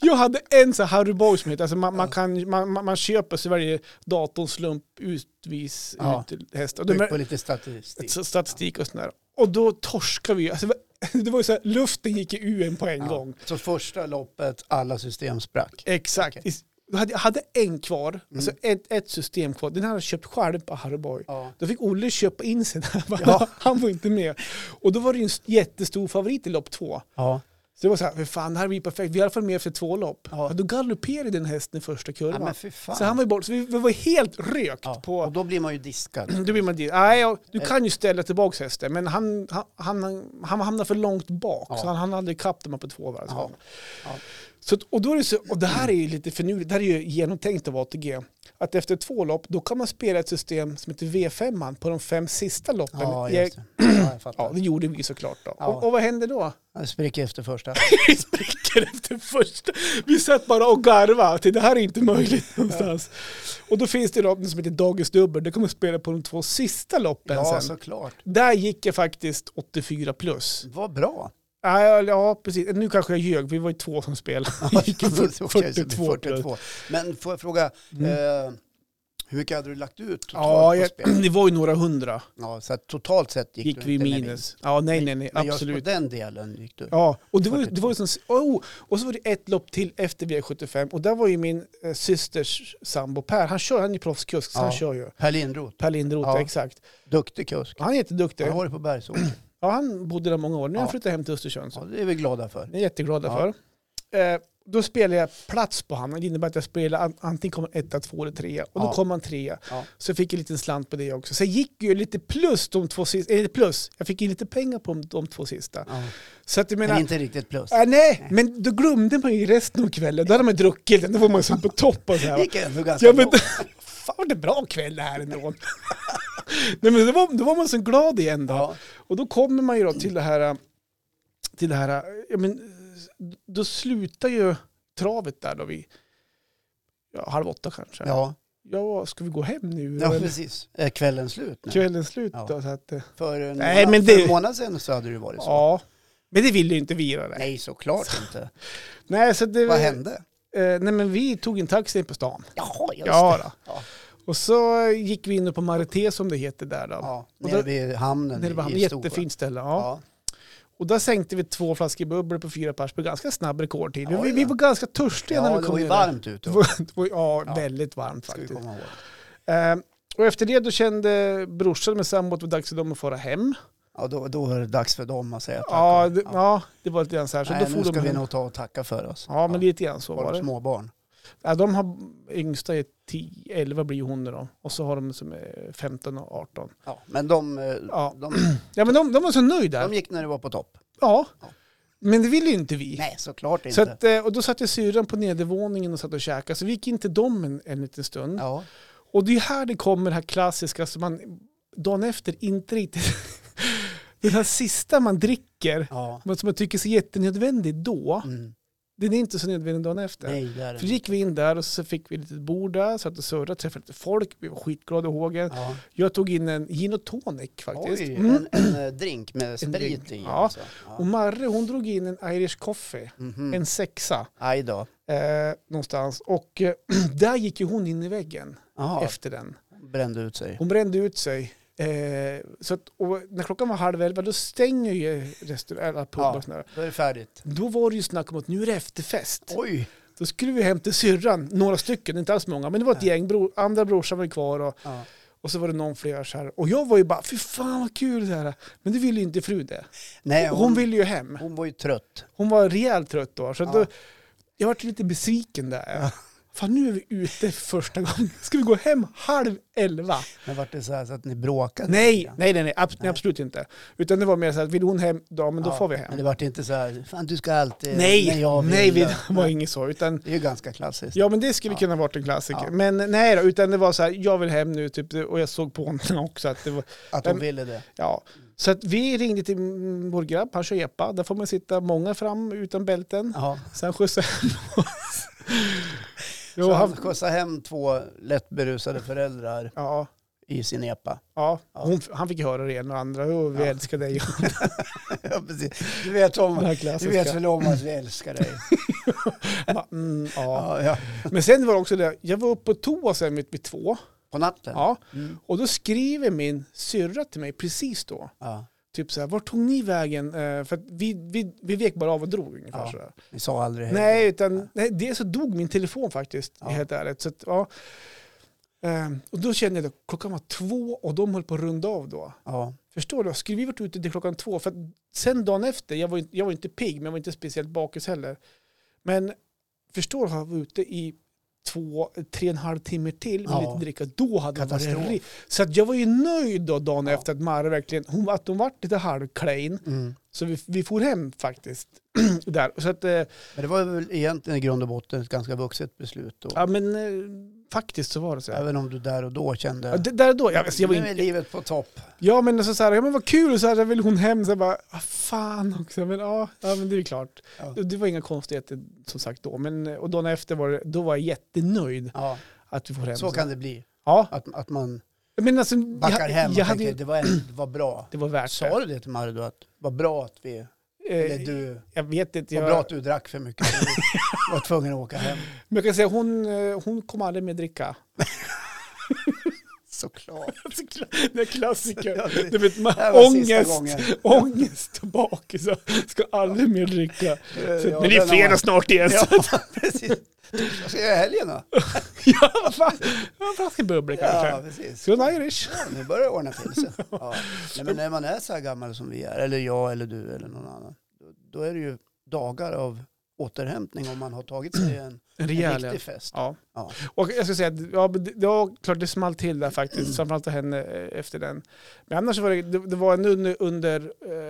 [SPEAKER 2] Jag hade en så här Harry Boy som heter, alltså man, man, kan, man, man, man köper så varje datorn slump utvis
[SPEAKER 1] Ja.
[SPEAKER 2] ut hästar.
[SPEAKER 1] Byggt på lite statistik.
[SPEAKER 2] Så statistik och sådär. Och då torskar vi ju. alltså, det var (laughs) ju så här, luften gick i UN på en gång.
[SPEAKER 1] Ja. Så första loppet, alla system sprack.
[SPEAKER 2] Exakt.
[SPEAKER 1] Okej. Mm.
[SPEAKER 2] Is- Jag hade, jag hade en kvar, alltså ett, ett system kvar. Den hade jag köpt själv på Harry Boy.
[SPEAKER 1] Ja.
[SPEAKER 2] Då fick Olle köpa in sig där.
[SPEAKER 1] Ja.
[SPEAKER 2] (laughs) Han var inte med. Och då var det ju en s- jättestor favorit i lopp två.
[SPEAKER 1] Ja.
[SPEAKER 2] Så det var så här, för fan, det här blir perfekt. Vi är i alla fall med efter två lopp.
[SPEAKER 1] Ja.
[SPEAKER 2] Ja. Då galopperade den hästen i första
[SPEAKER 1] ja
[SPEAKER 2] kurvan.
[SPEAKER 1] men fy fan.
[SPEAKER 2] så han var ju bort. Så vi, vi var helt rökt
[SPEAKER 1] ja.
[SPEAKER 2] på...
[SPEAKER 1] Och då Eh. blir man ju diskad.
[SPEAKER 2] Då blir man dit. Nej, ja, du kan ju ställa tillbaka hästen, men han, han, han, han hamnade för långt bak,
[SPEAKER 1] Ja.
[SPEAKER 2] så han hann aldrig ikapp dem här på två varv. alltså.
[SPEAKER 1] Ja. Ja.
[SPEAKER 2] Så, att- och, då är det så, och det här är ju lite finurligt, det här är ju genomtänkt av ATG. Att efter två lopp, då kan man spela ett system som heter V5 på de fem sista loppen.
[SPEAKER 1] Ja,
[SPEAKER 2] Jag-
[SPEAKER 1] just det. Ja,
[SPEAKER 2] (clears throat)
[SPEAKER 1] jag
[SPEAKER 2] ja,
[SPEAKER 1] fattar.
[SPEAKER 2] det gjorde vi såklart då.
[SPEAKER 1] Ja.
[SPEAKER 2] Och, och vad hände då?
[SPEAKER 1] Jag spricker efter första.
[SPEAKER 2] Vi spricker efter första. Vi satt bara och garvade. Till det här är inte möjligt någonstans. Och då finns det lopp som heter Dagens Dubbel. Det kommer spela på de två sista loppen
[SPEAKER 1] Ja,
[SPEAKER 2] sen.
[SPEAKER 1] såklart.
[SPEAKER 2] Där gick jag faktiskt 84 plus.
[SPEAKER 1] Vad bra.
[SPEAKER 2] Ja, ja, ja, precis. Nu kanske jag ljög. Vi var ju två som spelade. Jag gick
[SPEAKER 1] (laughs) Okej,
[SPEAKER 2] för-
[SPEAKER 1] så det är
[SPEAKER 2] 42 plus.
[SPEAKER 1] 42. Men får jag fråga,
[SPEAKER 2] Mm.
[SPEAKER 1] eh, hur mycket hade du lagt ut totalt
[SPEAKER 2] Ja,
[SPEAKER 1] på
[SPEAKER 2] jag,
[SPEAKER 1] spel?
[SPEAKER 2] (clears throat) det var ju några hundra.
[SPEAKER 1] Ja, så att totalt sett gick,
[SPEAKER 2] Gick
[SPEAKER 1] du
[SPEAKER 2] vi
[SPEAKER 1] inte med
[SPEAKER 2] minus. Ja, nej, nej, nej.
[SPEAKER 1] Men just
[SPEAKER 2] Absolut.
[SPEAKER 1] på den delen gick du.
[SPEAKER 2] Ja, och det var, ju- det var ju som, oh, och så var det ett lopp till efter V75 och där var ju min eh, systers sambo Per, han kör, han är ju proffskusk, så
[SPEAKER 1] Ja.
[SPEAKER 2] han kör ju.
[SPEAKER 1] Per Lindroth,
[SPEAKER 2] Per Lindroth,
[SPEAKER 1] Ja.
[SPEAKER 2] exakt.
[SPEAKER 1] duktig kusk.
[SPEAKER 2] Han är jätteduktig.
[SPEAKER 1] Han har varit på Bergsåker.
[SPEAKER 2] (clears throat) Ja, han bodde där många år, nu har
[SPEAKER 1] Ja.
[SPEAKER 2] han flyttat hem till Östersund. Så.
[SPEAKER 1] Ja, det är vi glada för.
[SPEAKER 2] Det är jag jätteglad
[SPEAKER 1] Ja.
[SPEAKER 2] för. Eh, då spelar jag plats på honom, det innebär att jag spelar an- antingen kommer han etta, två eller trea. Och då
[SPEAKER 1] Ja.
[SPEAKER 2] kom han trea.
[SPEAKER 1] Ja.
[SPEAKER 2] Så jag fick en liten slant på det också. Sen gick ju lite plus de två sista, eller plus, jag fick ju lite pengar på de, de två sista.
[SPEAKER 1] Ja.
[SPEAKER 2] Så att jag
[SPEAKER 1] Men,
[SPEAKER 2] menar,
[SPEAKER 1] inte riktigt plus.
[SPEAKER 2] Ah, nej, men då glömde man ju resten av kvällen. Då hade man druckit, då var man så på topp och så
[SPEAKER 1] Det
[SPEAKER 2] här.
[SPEAKER 1] gick ändå ganska
[SPEAKER 2] Ja, men, (laughs)
[SPEAKER 1] bra.
[SPEAKER 2] fan vad det bra kväll det här ändå. (laughs) nej, men då, var, då var man så glad igen då.
[SPEAKER 1] Ja.
[SPEAKER 2] Och då kommer man ju då till det här, till det här ja, men, då slutar ju travet där då vid ja, halv åtta kanske. Ja.
[SPEAKER 1] Ja.
[SPEAKER 2] ska vi gå hem nu?
[SPEAKER 1] ja,
[SPEAKER 2] Eller
[SPEAKER 1] precis. Är kvällen slut nu?
[SPEAKER 2] Kvällen slut
[SPEAKER 1] Ja.
[SPEAKER 2] då. Så att, eh,
[SPEAKER 1] För en,
[SPEAKER 2] Nej,
[SPEAKER 1] månad,
[SPEAKER 2] men
[SPEAKER 1] för
[SPEAKER 2] det-
[SPEAKER 1] en månad sedan så hade det varit så.
[SPEAKER 2] ja, men det ville ju inte vi göra. Nej.
[SPEAKER 1] Nej, såklart inte.
[SPEAKER 2] Nej, så det,
[SPEAKER 1] Vad hände?
[SPEAKER 2] Eh, nej, men vi tog en taxi in på stan.
[SPEAKER 1] Jaha, just
[SPEAKER 2] Ja,
[SPEAKER 1] det.
[SPEAKER 2] då.
[SPEAKER 1] Ja.
[SPEAKER 2] Och så gick vi in på Marité som det heter där då.
[SPEAKER 1] Ja,
[SPEAKER 2] Och
[SPEAKER 1] nere
[SPEAKER 2] då-
[SPEAKER 1] vid hamnen
[SPEAKER 2] Nere vid hamnen.
[SPEAKER 1] i Storsjö.
[SPEAKER 2] Jättefint ställe. Ja.
[SPEAKER 1] Ja.
[SPEAKER 2] Och där sänkte vi två flaskor bubblor på fyra pers på ganska snabb rekordtid.
[SPEAKER 1] Oj
[SPEAKER 2] vi,
[SPEAKER 1] då.
[SPEAKER 2] vi var ganska törstiga
[SPEAKER 1] Ja,
[SPEAKER 2] när vi
[SPEAKER 1] det
[SPEAKER 2] kom
[SPEAKER 1] var ju
[SPEAKER 2] ner.
[SPEAKER 1] varmt ute
[SPEAKER 2] Det
[SPEAKER 1] också,
[SPEAKER 2] var- det var- ja,
[SPEAKER 1] Ja.
[SPEAKER 2] väldigt varmt
[SPEAKER 1] ska vi
[SPEAKER 2] faktiskt.
[SPEAKER 1] komma ihåg.
[SPEAKER 2] Eh, och efter det då kände brorsan med sambo att det var dags för dem att fara hem.
[SPEAKER 1] Ja, då, då är det dags för dem att säga tack.
[SPEAKER 2] Ja
[SPEAKER 1] och-
[SPEAKER 2] det, ja, det var lite grann så här. Så
[SPEAKER 1] Nej,
[SPEAKER 2] då for
[SPEAKER 1] nu ska
[SPEAKER 2] de
[SPEAKER 1] vi
[SPEAKER 2] hem.
[SPEAKER 1] nog ta och tacka för oss.
[SPEAKER 2] Ja, men lite grann så
[SPEAKER 1] Var
[SPEAKER 2] var
[SPEAKER 1] de
[SPEAKER 2] det.
[SPEAKER 1] småbarn?
[SPEAKER 2] Ja, de har yngsta är 10, 11 blir ju hon nu då. Och så har de som är 15 och 18.
[SPEAKER 1] Ja, men de, eh,
[SPEAKER 2] Ja.
[SPEAKER 1] de,
[SPEAKER 2] Ja, men de, de var så nöjda.
[SPEAKER 1] de gick när det var på topp.
[SPEAKER 2] Ja. Men det ville ju inte vi.
[SPEAKER 1] Nej, såklart inte.
[SPEAKER 2] Så att, eh, och då satt jag syrran på nedervåningen och satt och käkade, så vi gick in till dem en, en liten stund.
[SPEAKER 1] ja.
[SPEAKER 2] Och det är här det kommer det här klassiska som man dagen efter inte riktigt... (laughs) Den här sista man dricker,
[SPEAKER 1] ja.
[SPEAKER 2] men som man tycker är så jättenödvändig då,
[SPEAKER 1] Mm.
[SPEAKER 2] den är inte så nödvändig dagen efter.
[SPEAKER 1] Nej, där är
[SPEAKER 2] För
[SPEAKER 1] det.
[SPEAKER 2] då gick vi in där och så fick vi lite bord där, satt och surrade, träffade lite folk, vi var skitglada i hågen.
[SPEAKER 1] Ja.
[SPEAKER 2] Jag tog in en gin och tonic faktiskt.
[SPEAKER 1] Oj,
[SPEAKER 2] Mm.
[SPEAKER 1] en, en eh, drink med sprit
[SPEAKER 2] drink.
[SPEAKER 1] i.
[SPEAKER 2] Ja.
[SPEAKER 1] Alltså.
[SPEAKER 2] Och
[SPEAKER 1] Ja.
[SPEAKER 2] Marre hon drog in en Irish coffee,
[SPEAKER 1] Mhm.
[SPEAKER 2] en sexa
[SPEAKER 1] Aj då.
[SPEAKER 2] eh, någonstans. Och eh, (clears throat) där gick ju hon in i väggen
[SPEAKER 1] Jaha,
[SPEAKER 2] efter den.
[SPEAKER 1] brände ut sig.
[SPEAKER 2] Hon brände ut sig. Eh, så att, och när klockan var halv elva då stänger ju restaurangen,
[SPEAKER 1] Ja.
[SPEAKER 2] pubar och sådär.
[SPEAKER 1] Då är det färdigt.
[SPEAKER 2] Då var det ju snack om att nu är det efterfest.
[SPEAKER 1] Oj!
[SPEAKER 2] Då skulle vi hem till syrran, några stycken, inte alls många, men det var ett
[SPEAKER 1] Ja.
[SPEAKER 2] gäng, bro, andra brorsan var ju kvar och,
[SPEAKER 1] Ja.
[SPEAKER 2] och så var det någon fler så här. Och jag var ju bara, fy fan vad kul det här. Men det ville ju inte fru det.
[SPEAKER 1] Nej,
[SPEAKER 2] Hon,
[SPEAKER 1] hon,
[SPEAKER 2] ville ju hem.
[SPEAKER 1] hon var ju trött.
[SPEAKER 2] Hon var rejält trött då. Så
[SPEAKER 1] Ja.
[SPEAKER 2] då jag var lite besviken där. Fan nu är vi ute första gången. Ska vi gå hem halv elva?
[SPEAKER 1] Men vart det så här så att ni bråkade?
[SPEAKER 2] Nej,
[SPEAKER 1] Ja.
[SPEAKER 2] nej, nej, nej, abs-
[SPEAKER 1] Nej.
[SPEAKER 2] nej, absolut inte. Utan det var mer så att vill hon hem, då, men då
[SPEAKER 1] Ja,
[SPEAKER 2] får vi hem.
[SPEAKER 1] Men det vart inte så här, fan du ska alltid... när
[SPEAKER 2] nej,
[SPEAKER 1] jag vill.
[SPEAKER 2] nej, vi det var inget så. Utan,
[SPEAKER 1] Det är ju ganska klassiskt.
[SPEAKER 2] ja, men det skulle
[SPEAKER 1] Ja.
[SPEAKER 2] kunna varit en klassiker.
[SPEAKER 1] Ja.
[SPEAKER 2] Men nej då, utan det var så här, jag vill hem nu, typ, och jag såg på honom (laughs) också att det var,
[SPEAKER 1] Att hon
[SPEAKER 2] men-
[SPEAKER 1] ville det.
[SPEAKER 2] ja. Så att vi ringde till mm, vår grabb, han kör epa, där får man sitta många fram utan bälten.
[SPEAKER 1] Ja.
[SPEAKER 2] Sen skjutsade han oss. Jo,
[SPEAKER 1] Så han
[SPEAKER 2] han,
[SPEAKER 1] skjutsade hem två lätt berusade föräldrar
[SPEAKER 2] ja,
[SPEAKER 1] i sin epa. (laughs)
[SPEAKER 2] ja,
[SPEAKER 1] Ja.
[SPEAKER 2] hon, han fick höra det ena och det andra, och vi
[SPEAKER 1] Ja.
[SPEAKER 2] älskar dig.
[SPEAKER 1] (laughs)
[SPEAKER 2] och
[SPEAKER 1] Ja, precis. Du vet, om,
[SPEAKER 2] Den här
[SPEAKER 1] du
[SPEAKER 2] klassiska.
[SPEAKER 1] vet väl om att vi älskar dig?
[SPEAKER 2] Mm,
[SPEAKER 1] Ja,
[SPEAKER 2] ja.
[SPEAKER 1] ja.
[SPEAKER 2] Men sen var det också det, jag var uppe på toa sen vid, vid två.
[SPEAKER 1] På natten?
[SPEAKER 2] Ja.
[SPEAKER 1] Mm.
[SPEAKER 2] Och då skriver min syrra till mig precis då.
[SPEAKER 1] ja.
[SPEAKER 2] Typ så här, vart tog ni vägen? Eh, för att vi, vi, vi vek bara av och drog ungefär
[SPEAKER 1] Ja.
[SPEAKER 2] så där.
[SPEAKER 1] Ni sa aldrig hej?
[SPEAKER 2] Nej, utan nej, dels så dog min telefon faktiskt,
[SPEAKER 1] Ja.
[SPEAKER 2] helt ärligt. Så att, ja. Ehm, och då kände jag att klockan var två och de höll på att runda av då.
[SPEAKER 1] Ja.
[SPEAKER 2] Förstår du? Skulle vi varit ute till klockan två? För att sen dagen efter, jag var, ju- jag var inte pigg, men jag var inte speciellt bakis heller. Men förstår du, jag var ute i två, tre och en halv timme till med
[SPEAKER 1] Ja.
[SPEAKER 2] lite dricka. Då hade hon varit
[SPEAKER 1] Katastrof.
[SPEAKER 2] ri- Så att jag var ju nöjd då dagen
[SPEAKER 1] Ja.
[SPEAKER 2] efter att Mara verkligen, hon, att hon vart lite halvklein.
[SPEAKER 1] Mm.
[SPEAKER 2] Så vi, vi for hem faktiskt. (clears throat) där. Så att, eh,
[SPEAKER 1] Men det var väl egentligen i grund och botten ett ganska vuxet beslut då?
[SPEAKER 2] ja men eh, faktiskt så var det så. Här.
[SPEAKER 1] Även om du där och då kände
[SPEAKER 2] Ja, det, där och då, jag, alltså, jag var
[SPEAKER 1] nu är
[SPEAKER 2] in,
[SPEAKER 1] livet på topp.
[SPEAKER 2] ja men alltså, så här, ja men vad kul, så här, så vill hon hem, så jag bara, ah, fan också, men ja, ja men det är klart.
[SPEAKER 1] Ja.
[SPEAKER 2] Det var inga konstigheter som sagt då, men och dagen efter var det, då var jag jättenöjd
[SPEAKER 1] Ja,
[SPEAKER 2] att vi får hem.
[SPEAKER 1] så kan det bli.
[SPEAKER 2] Ja,
[SPEAKER 1] Att, att man
[SPEAKER 2] men alltså,
[SPEAKER 1] backar
[SPEAKER 2] jag,
[SPEAKER 1] hem och
[SPEAKER 2] jag hade,
[SPEAKER 1] tänker
[SPEAKER 2] ju-
[SPEAKER 1] det, var, en- det var bra.
[SPEAKER 2] det var värt
[SPEAKER 1] Sa du det till Marre då? Att det var bra att vi...
[SPEAKER 2] det.
[SPEAKER 1] Eller
[SPEAKER 2] Eh,
[SPEAKER 1] du,
[SPEAKER 2] jag vet inte,
[SPEAKER 1] det var bra
[SPEAKER 2] jag,
[SPEAKER 1] att du drack för mycket. Du var tvungen att åka hem.
[SPEAKER 2] men jag kan säga hon, eh, hon kom aldrig med dricka.
[SPEAKER 1] Såklart.
[SPEAKER 2] Det är klassiker.
[SPEAKER 1] Ja, det-
[SPEAKER 2] Du vet, man,
[SPEAKER 1] Det här var sista gången.
[SPEAKER 2] (laughs)
[SPEAKER 1] Eh,
[SPEAKER 2] ångest, ångest och bakis. Ska aldrig mer dricka. Så,
[SPEAKER 1] Ja,
[SPEAKER 2] men det är
[SPEAKER 1] den har-
[SPEAKER 2] fredag snart igen. så-
[SPEAKER 1] (laughs) Ja, precis. Vad ska jag göra i helgen då?
[SPEAKER 2] (laughs) Ja, vad fan. En flaska bubbla
[SPEAKER 1] Ja,
[SPEAKER 2] kanske.
[SPEAKER 1] precis.
[SPEAKER 2] Från Irish.
[SPEAKER 1] Ja, nu börjar det ordna till sig. Ja. Nej, men när man är så här gammal som vi är, eller jag eller du eller någon annan, då, då är det ju dagar av återhämtning om man har tagit sig en,
[SPEAKER 2] En
[SPEAKER 1] en
[SPEAKER 2] rejäl
[SPEAKER 1] riktig fest.
[SPEAKER 2] Ja.
[SPEAKER 1] Ja.
[SPEAKER 2] Och jag ska säga att ja, men det, det var klart det small till där faktiskt, framförallt för henne eh, efter den. Men annars var det, det, det var en under, under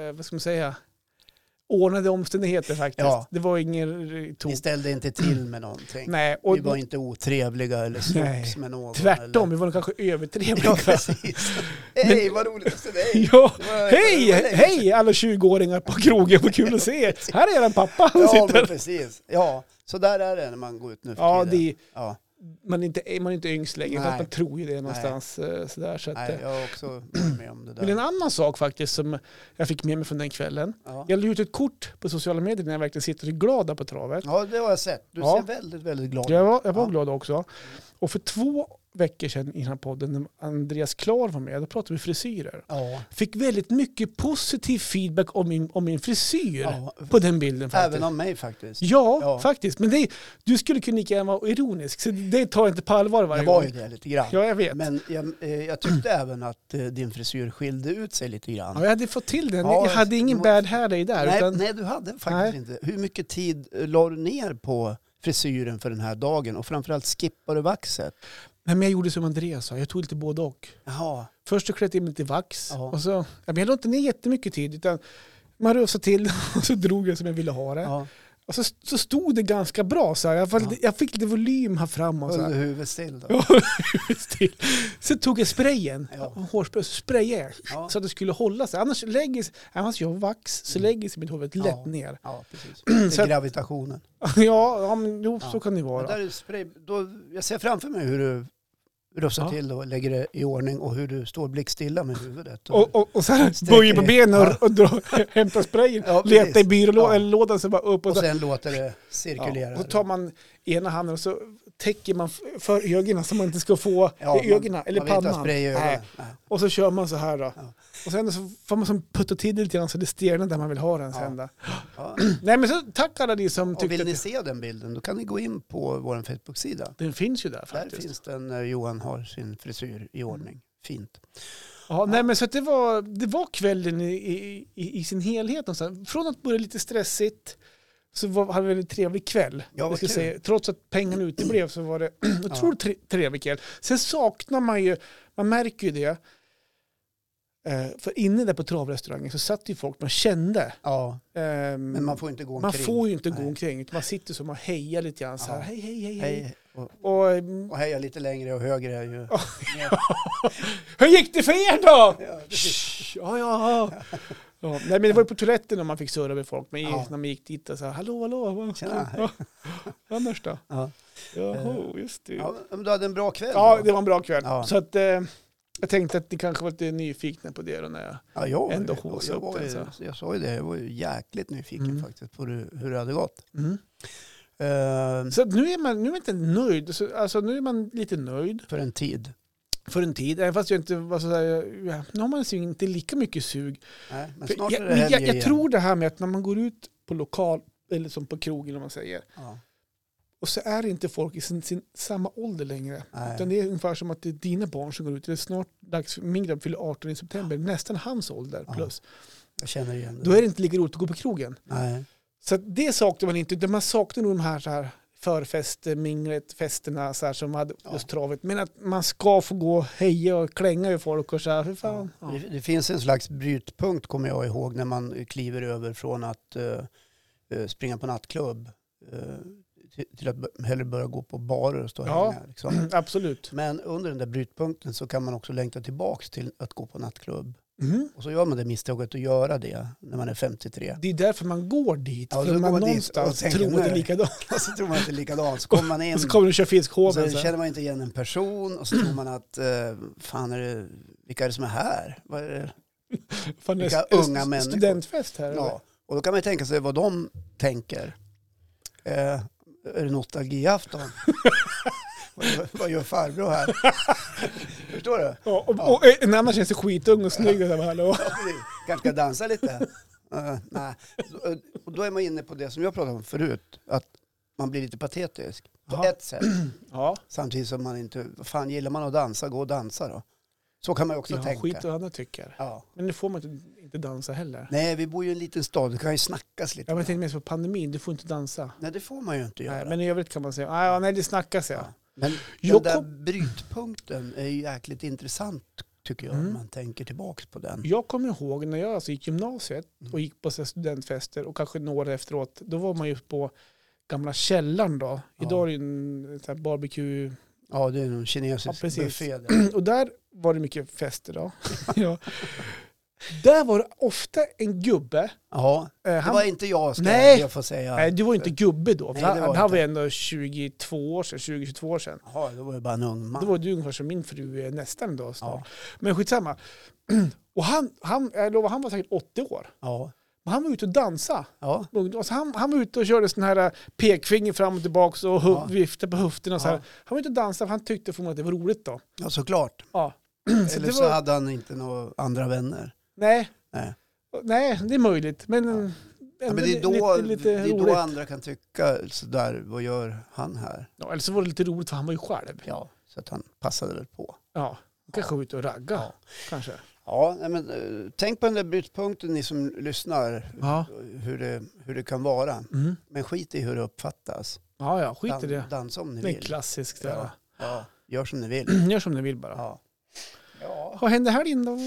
[SPEAKER 2] eh, vad ska man säga, ordnade omständigheter faktiskt.
[SPEAKER 1] Ja.
[SPEAKER 2] Det var ingen
[SPEAKER 1] Ni
[SPEAKER 2] tok.
[SPEAKER 1] ställde inte till med någonting.
[SPEAKER 2] Nej,
[SPEAKER 1] Vi
[SPEAKER 2] och
[SPEAKER 1] var inte otrevliga eller slogs
[SPEAKER 2] Nej.
[SPEAKER 1] med någon.
[SPEAKER 2] tvärtom,
[SPEAKER 1] Eller...
[SPEAKER 2] vi var nog kanske övertrevliga.
[SPEAKER 1] Ja, precis. Hej, vad roligt att se dig.
[SPEAKER 2] (laughs) Ja.
[SPEAKER 1] Det var-
[SPEAKER 2] Hej,
[SPEAKER 1] det var länge sedan.
[SPEAKER 2] hej alla 20-åringar på krogen, vad kul att se er.
[SPEAKER 1] (laughs)
[SPEAKER 2] Här är er pappa, han
[SPEAKER 1] Ja, men
[SPEAKER 2] sitter.
[SPEAKER 1] precis. Ja, så där är det när man går ut nu för
[SPEAKER 2] Ja,
[SPEAKER 1] tiden.
[SPEAKER 2] det, är-
[SPEAKER 1] Ja,
[SPEAKER 2] man, är inte, man är inte yngst längre,
[SPEAKER 1] Nej.
[SPEAKER 2] fast man tror ju det någonstans. eh, Sådär, så att,
[SPEAKER 1] nej,
[SPEAKER 2] eh.
[SPEAKER 1] jag har också varit med om det
[SPEAKER 2] Men en
[SPEAKER 1] där.
[SPEAKER 2] annan sak faktiskt som jag fick med mig från den kvällen,
[SPEAKER 1] Ja.
[SPEAKER 2] Jag la ut ett kort på sociala medier när jag verkligen sitter glad där på travet.
[SPEAKER 1] ja, det har jag sett. Du
[SPEAKER 2] Ja.
[SPEAKER 1] ser väldigt, väldigt glad ut.
[SPEAKER 2] Jag var, jag var
[SPEAKER 1] Ja.
[SPEAKER 2] glad också. Och för två veckor sedan i den här podden när Andreas Klar var med, då pratade vi frisyrer.
[SPEAKER 1] Ja.
[SPEAKER 2] Fick väldigt mycket positiv feedback om min, om min frisyr
[SPEAKER 1] Ja.
[SPEAKER 2] på den bilden faktiskt.
[SPEAKER 1] Även om mig faktiskt.
[SPEAKER 2] Ja,
[SPEAKER 1] Ja.
[SPEAKER 2] faktiskt. Men det, du skulle kunna lika gärna vara ironisk, så det tar jag inte på allvar varje
[SPEAKER 1] Jag var ju
[SPEAKER 2] gång.
[SPEAKER 1] det lite grann.
[SPEAKER 2] Ja, jag vet.
[SPEAKER 1] Men jag, eh, jag tyckte även att eh, din frisyr skilde ut sig lite
[SPEAKER 2] Ja,
[SPEAKER 1] grann.
[SPEAKER 2] jag hade fått till den.
[SPEAKER 1] Ja,
[SPEAKER 2] jag hade ingen
[SPEAKER 1] må-
[SPEAKER 2] bad hair day där.
[SPEAKER 1] Nej,
[SPEAKER 2] utan,
[SPEAKER 1] nej, du hade faktiskt
[SPEAKER 2] Nej.
[SPEAKER 1] inte. Hur mycket tid eh, la du ner på frisyren för den här dagen? Och framförallt skippade du vaxet?
[SPEAKER 2] nej, men jag gjorde som Andreas sa, jag tog lite både och.
[SPEAKER 1] Jaha,
[SPEAKER 2] Först så klädde jag in mig lite vax.
[SPEAKER 1] Ja.
[SPEAKER 2] Och så, ja, men jag la inte ner jättemycket tid. Utan, Man rufsade till (laughs) och så drog jag som jag ville ha det.
[SPEAKER 1] Ja.
[SPEAKER 2] Och så, så stod det ganska bra så här. Jag, fick,
[SPEAKER 1] Ja.
[SPEAKER 2] jag fick lite volym här fram och så
[SPEAKER 1] Under
[SPEAKER 2] här.
[SPEAKER 1] huvudet still då.
[SPEAKER 2] Ja, (laughs) still. Sen tog jag sprayen,
[SPEAKER 1] Ja.
[SPEAKER 2] hårspray, så sprayade jag
[SPEAKER 1] Ja.
[SPEAKER 2] så att det skulle hålla sig. Annars lägger sig, annars jag har vax så
[SPEAKER 1] Mm.
[SPEAKER 2] lägger sig mitt huvud lätt
[SPEAKER 1] Ja.
[SPEAKER 2] ner. (laughs)
[SPEAKER 1] Ja,
[SPEAKER 2] (clears throat)
[SPEAKER 1] precis. Det
[SPEAKER 2] Så
[SPEAKER 1] är
[SPEAKER 2] att-
[SPEAKER 1] gravitationen.
[SPEAKER 2] ja, ja, men jo,
[SPEAKER 1] Ja.
[SPEAKER 2] så kan det vara.
[SPEAKER 1] Men Där är spray, då, jag ser framför mig hur du rufsar
[SPEAKER 2] Ja.
[SPEAKER 1] till och lägger det i ordning och hur du står blickstilla med huvudet.
[SPEAKER 2] Och, och, och så här
[SPEAKER 1] Sträcker
[SPEAKER 2] böjer på
[SPEAKER 1] i-
[SPEAKER 2] benen och, och drar, (laughs) hämtar sprayen.
[SPEAKER 1] Ja, precis.
[SPEAKER 2] letar i byrålådan
[SPEAKER 1] Ja.
[SPEAKER 2] eller lådan så bara upp. Och
[SPEAKER 1] och
[SPEAKER 2] så,
[SPEAKER 1] sen låter det cirkulera.
[SPEAKER 2] ja, så tar man ena handen och så täcker man f- för ögonen så man inte ska få
[SPEAKER 1] Ja,
[SPEAKER 2] i ögonen eller
[SPEAKER 1] man vill inte ha
[SPEAKER 2] pannan.
[SPEAKER 1] spray i ögonen.
[SPEAKER 2] Nej.
[SPEAKER 1] Nej.
[SPEAKER 2] Och så kör man så här då.
[SPEAKER 1] Ja.
[SPEAKER 2] Och sen så får man som putta till det lite grann så det stelnar där man vill ha den sen. Då. (clears throat)
[SPEAKER 1] Ja.
[SPEAKER 2] Nej men så tack alla ni som
[SPEAKER 1] Och
[SPEAKER 2] tyckte
[SPEAKER 1] vill
[SPEAKER 2] att
[SPEAKER 1] ni se den bilden då kan ni gå in på vår Facebook-sida.
[SPEAKER 2] den finns ju där
[SPEAKER 1] Där
[SPEAKER 2] faktiskt. Mm.
[SPEAKER 1] finns den när Johan har sin frisyr i ordning. Fint.
[SPEAKER 2] Ja, Nej men så att det var, det var kvällen i, i, i, i sin helhet. Någonstans. Från att börja lite stressigt så var, hade vi en trevlig kväll.
[SPEAKER 1] Ja, vad
[SPEAKER 2] Jag ska
[SPEAKER 1] kul.
[SPEAKER 2] säga, trots att pengarna uteblev så var det (clears throat) otroligt tre, trevlig kväll. Sen saknar man ju, man märker ju det. Eh, för inne där på travrestaurangen så satt ju folk man kände.
[SPEAKER 1] Ja,
[SPEAKER 2] Ehm,
[SPEAKER 1] men man får inte gå
[SPEAKER 2] Man
[SPEAKER 1] omkring.
[SPEAKER 2] får ju inte gå
[SPEAKER 1] Nej.
[SPEAKER 2] omkring, utan man sitter som och hejar lite grann så här,
[SPEAKER 1] Ja.
[SPEAKER 2] hej, hej, hej, hej.
[SPEAKER 1] Hej, och,
[SPEAKER 2] Och, mm,
[SPEAKER 1] och heja lite längre och högre är ju...
[SPEAKER 2] Ja.
[SPEAKER 1] Ja.
[SPEAKER 2] hur gick det för er då?
[SPEAKER 1] Ja,
[SPEAKER 2] Shh, ja, ja. ja. ja. Nej, men det var ju på toaletten om man fick surra med folk, men i-
[SPEAKER 1] Ja.
[SPEAKER 2] när man gick dit och så här, hallå, hallå, vad
[SPEAKER 1] Tjena, hej.
[SPEAKER 2] ja. annars då?
[SPEAKER 1] Ja. Eh,
[SPEAKER 2] Jaha, just det.
[SPEAKER 1] Ja, men du hade en bra kväll
[SPEAKER 2] Ja,
[SPEAKER 1] då?
[SPEAKER 2] det var en bra kväll.
[SPEAKER 1] Ja.
[SPEAKER 2] Så att, eh, jag tänkte att ni kanske var lite nyfikna på det då när jag...
[SPEAKER 1] Ja, jag, var
[SPEAKER 2] Ändå
[SPEAKER 1] ju-
[SPEAKER 2] haussa
[SPEAKER 1] jag,
[SPEAKER 2] upp
[SPEAKER 1] var
[SPEAKER 2] den,
[SPEAKER 1] ju,
[SPEAKER 2] så.
[SPEAKER 1] jag sa ju det, jag var ju jäkligt nyfiken
[SPEAKER 2] Mm.
[SPEAKER 1] faktiskt på hur, hur det hade gått. Eh,
[SPEAKER 2] Så att nu är man nu är man inte nöjd, Så- alltså nu är man lite nöjd.
[SPEAKER 1] för en tid.
[SPEAKER 2] för en tid. Även fast jag inte var sådär, ja, nu har man ju inte lika mycket sug.
[SPEAKER 1] Nej, men
[SPEAKER 2] För
[SPEAKER 1] snart
[SPEAKER 2] jag,
[SPEAKER 1] är det
[SPEAKER 2] men
[SPEAKER 1] helg
[SPEAKER 2] jag, jag
[SPEAKER 1] igen.
[SPEAKER 2] tror det här med att när man går ut på lokal, eller som på krogen om man säger,
[SPEAKER 1] Ja,
[SPEAKER 2] och så är det inte folk i sin, sin samma ålder längre.
[SPEAKER 1] nej.
[SPEAKER 2] Utan det är ungefär som att det är dina barn som går ut. Det är snart dags, för- min grabb fyller 18 i september, nästan hans ålder
[SPEAKER 1] Ja.
[SPEAKER 2] plus.
[SPEAKER 1] Jag känner igen det.
[SPEAKER 2] Då är det inte lika roligt att gå på krogen.
[SPEAKER 1] Nej.
[SPEAKER 2] Så att det saknar man inte, utan man saknar nog de här, så här förfester, minglet, festerna så här, som hade
[SPEAKER 1] Ja.
[SPEAKER 2] just travet. Men att man ska få gå och heja och klänga över folk och så här, för
[SPEAKER 1] Ja.
[SPEAKER 2] fan.
[SPEAKER 1] Det, det finns en slags brytpunkt kommer jag ihåg när man kliver över från att eh, eh, springa på nattklubb eh, till- till att bör- hellre börja gå på barer och stå och
[SPEAKER 2] Ja. (clears throat)
[SPEAKER 1] hänga. Liksom.
[SPEAKER 2] Absolut.
[SPEAKER 1] Men under den där brytpunkten så kan man också längta tillbaka till att gå på nattklubb. Och så gör man det misstaget att göra det när man är 53.
[SPEAKER 2] Det är därför man går dit.
[SPEAKER 1] Ja,
[SPEAKER 2] för
[SPEAKER 1] då
[SPEAKER 2] man
[SPEAKER 1] går man dit och
[SPEAKER 2] någonstans
[SPEAKER 1] tänker,
[SPEAKER 2] tror
[SPEAKER 1] "Nu
[SPEAKER 2] att det
[SPEAKER 1] är
[SPEAKER 2] är
[SPEAKER 1] det."
[SPEAKER 2] likadant.
[SPEAKER 1] (laughs) Och så tror man att det är likadant. Så kommer man in
[SPEAKER 2] Och så kommer du och kör
[SPEAKER 1] och
[SPEAKER 2] fiskhåven.
[SPEAKER 1] så
[SPEAKER 2] så här.
[SPEAKER 1] känner man inte igen en person och så tror man att eh, fan är det, vilka är det som är här? Vad är det?
[SPEAKER 2] Fan, det är
[SPEAKER 1] vilka
[SPEAKER 2] st-
[SPEAKER 1] unga
[SPEAKER 2] st-
[SPEAKER 1] människor.
[SPEAKER 2] Studentfest här. eller?
[SPEAKER 1] Ja. Och då kan man ju tänka sig vad de tänker. Eh, är det nostalgiafton?
[SPEAKER 2] (laughs)
[SPEAKER 1] vad, gör- vad gör farbror här? Förstår du?
[SPEAKER 2] Ja, och,
[SPEAKER 1] Ja.
[SPEAKER 2] och eh, en annan känns skitung och snygg. Och så här, hallå.
[SPEAKER 1] Ja, precis. Kanske ska dansa lite? Eh, nej. Så, eh, Och då är man inne på det som jag pratade om förut, att man blir lite patetisk på
[SPEAKER 2] Jaha.
[SPEAKER 1] ett sätt.
[SPEAKER 2] Ja,
[SPEAKER 1] Samtidigt som man inte, vad fan gillar man att dansa, gå och dansa då. Så kan man ju också
[SPEAKER 2] ja
[SPEAKER 1] tänka.
[SPEAKER 2] skit vad andra tycker.
[SPEAKER 1] Ja.
[SPEAKER 2] Men nu får man inte, inte dansa heller.
[SPEAKER 1] Nej, vi bor ju i en liten stad, det kan ju snackas lite.
[SPEAKER 2] Ja, men jag tänkte mest på pandemin, du får inte dansa.
[SPEAKER 1] Nej, det får man ju inte göra.
[SPEAKER 2] Nej,
[SPEAKER 1] men
[SPEAKER 2] men i övrigt kan man säga, "Ah, ja, nej det snackas ja.
[SPEAKER 1] Ja. men den
[SPEAKER 2] Jag
[SPEAKER 1] där
[SPEAKER 2] kom-
[SPEAKER 1] brytpunkten är ju jäkligt intressant tycker jag, om
[SPEAKER 2] Mm.
[SPEAKER 1] man tänker tillbaka på den.
[SPEAKER 2] Jag kommer ihåg när jag alltså gick gymnasiet
[SPEAKER 1] Mm.
[SPEAKER 2] och gick på så här studentfester och kanske några år efteråt, då var man ju på gamla källaren då.
[SPEAKER 1] Ja.
[SPEAKER 2] Idag är det ju en sån här barbecue
[SPEAKER 1] Ja, det är någon kinesisk
[SPEAKER 2] Ja, precis.
[SPEAKER 1] buffé
[SPEAKER 2] (clears throat)
[SPEAKER 1] där.
[SPEAKER 2] Och där var det mycket
[SPEAKER 1] (laughs)
[SPEAKER 2] fester då. ja. Där var det ofta en gubbe.
[SPEAKER 1] Ja,
[SPEAKER 2] Eh,
[SPEAKER 1] det
[SPEAKER 2] han,
[SPEAKER 1] var inte jag ska
[SPEAKER 2] Nej.
[SPEAKER 1] jag får säga.
[SPEAKER 2] nej, du var ju inte gubbe då.
[SPEAKER 1] Nej,
[SPEAKER 2] För
[SPEAKER 1] det
[SPEAKER 2] han,
[SPEAKER 1] var
[SPEAKER 2] det här
[SPEAKER 1] inte.
[SPEAKER 2] var ju ändå 22 år sedan, 20-22 år sedan.
[SPEAKER 1] Ja, då var det bara en ung man.
[SPEAKER 2] Då var du ungefär som min fru är nästan då
[SPEAKER 1] Ja,
[SPEAKER 2] snart. Men skitsamma. (clears throat) Och han, han, jag lovar, han var säkert 80 år.
[SPEAKER 1] ja,
[SPEAKER 2] Men han var ute och dansa.
[SPEAKER 1] ja.
[SPEAKER 2] Alltså han, han var ute och körde sån här eh, pekfinger fram och tillbaka och hu-
[SPEAKER 1] Ja.
[SPEAKER 2] viftade på höfterna. Och så
[SPEAKER 1] Ja.
[SPEAKER 2] här. Han var ute och dansade för han tyckte förmodligen att det var roligt då. (clears throat)
[SPEAKER 1] ja såklart.
[SPEAKER 2] Ja. Så
[SPEAKER 1] Eller
[SPEAKER 2] det
[SPEAKER 1] så
[SPEAKER 2] var-
[SPEAKER 1] hade han inte några andra vänner.
[SPEAKER 2] Nej.
[SPEAKER 1] Nej.
[SPEAKER 2] Nej, det är möjligt. Men,
[SPEAKER 1] Ja. Ja,
[SPEAKER 2] ändå
[SPEAKER 1] men det är då,
[SPEAKER 2] lite, lite
[SPEAKER 1] det är
[SPEAKER 2] roligt.
[SPEAKER 1] då andra kan tycka sådär, vad gör han här?
[SPEAKER 2] Ja, eller så var det lite roligt för han var ju själv.
[SPEAKER 1] Ja, så att han passade väl på.
[SPEAKER 2] Ja, kanske var ute och ragga. Kanske.
[SPEAKER 1] Ja, nej, men, eh, tänk på den där brytpunkten ni som lyssnar,
[SPEAKER 2] Ja.
[SPEAKER 1] hur det, hur det kan vara.
[SPEAKER 2] Mm.
[SPEAKER 1] Men skit i hur det uppfattas.
[SPEAKER 2] ja, ja, skit i det.
[SPEAKER 1] Dansa om ni
[SPEAKER 2] Det är
[SPEAKER 1] vill.
[SPEAKER 2] klassiskt.
[SPEAKER 1] Ja.
[SPEAKER 2] Ja. (clears throat)
[SPEAKER 1] Ja, gör som ni vill.
[SPEAKER 2] Gör som ni vill bara.
[SPEAKER 1] Ja. Ja.
[SPEAKER 2] Vad hände
[SPEAKER 1] (laughs)
[SPEAKER 2] helgen då?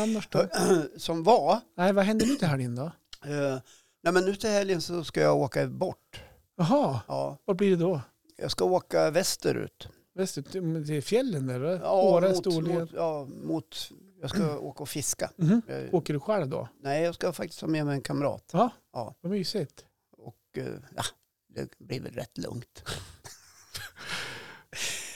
[SPEAKER 2] Annars då?
[SPEAKER 1] (clears throat) Som var.
[SPEAKER 2] Nej, vad hände nu till helgen då?
[SPEAKER 1] Eh, nej men nu till helgen så ska jag åka bort.
[SPEAKER 2] Jaha,
[SPEAKER 1] Ja,
[SPEAKER 2] vad blir det då?
[SPEAKER 1] jag ska åka västerut.
[SPEAKER 2] Västerut, till fjällen där? va?
[SPEAKER 1] Ja,
[SPEAKER 2] Åre, Mm.
[SPEAKER 1] mot,
[SPEAKER 2] Storlien?
[SPEAKER 1] mot, ja, mot, jag ska åka och fiska.
[SPEAKER 2] Mhm.
[SPEAKER 1] Jag,
[SPEAKER 2] Åker du själv då?
[SPEAKER 1] nej, jag ska faktiskt ha med mig en kamrat.
[SPEAKER 2] Vad mysigt.
[SPEAKER 1] Och eh, ja, det blir väl rätt lugnt.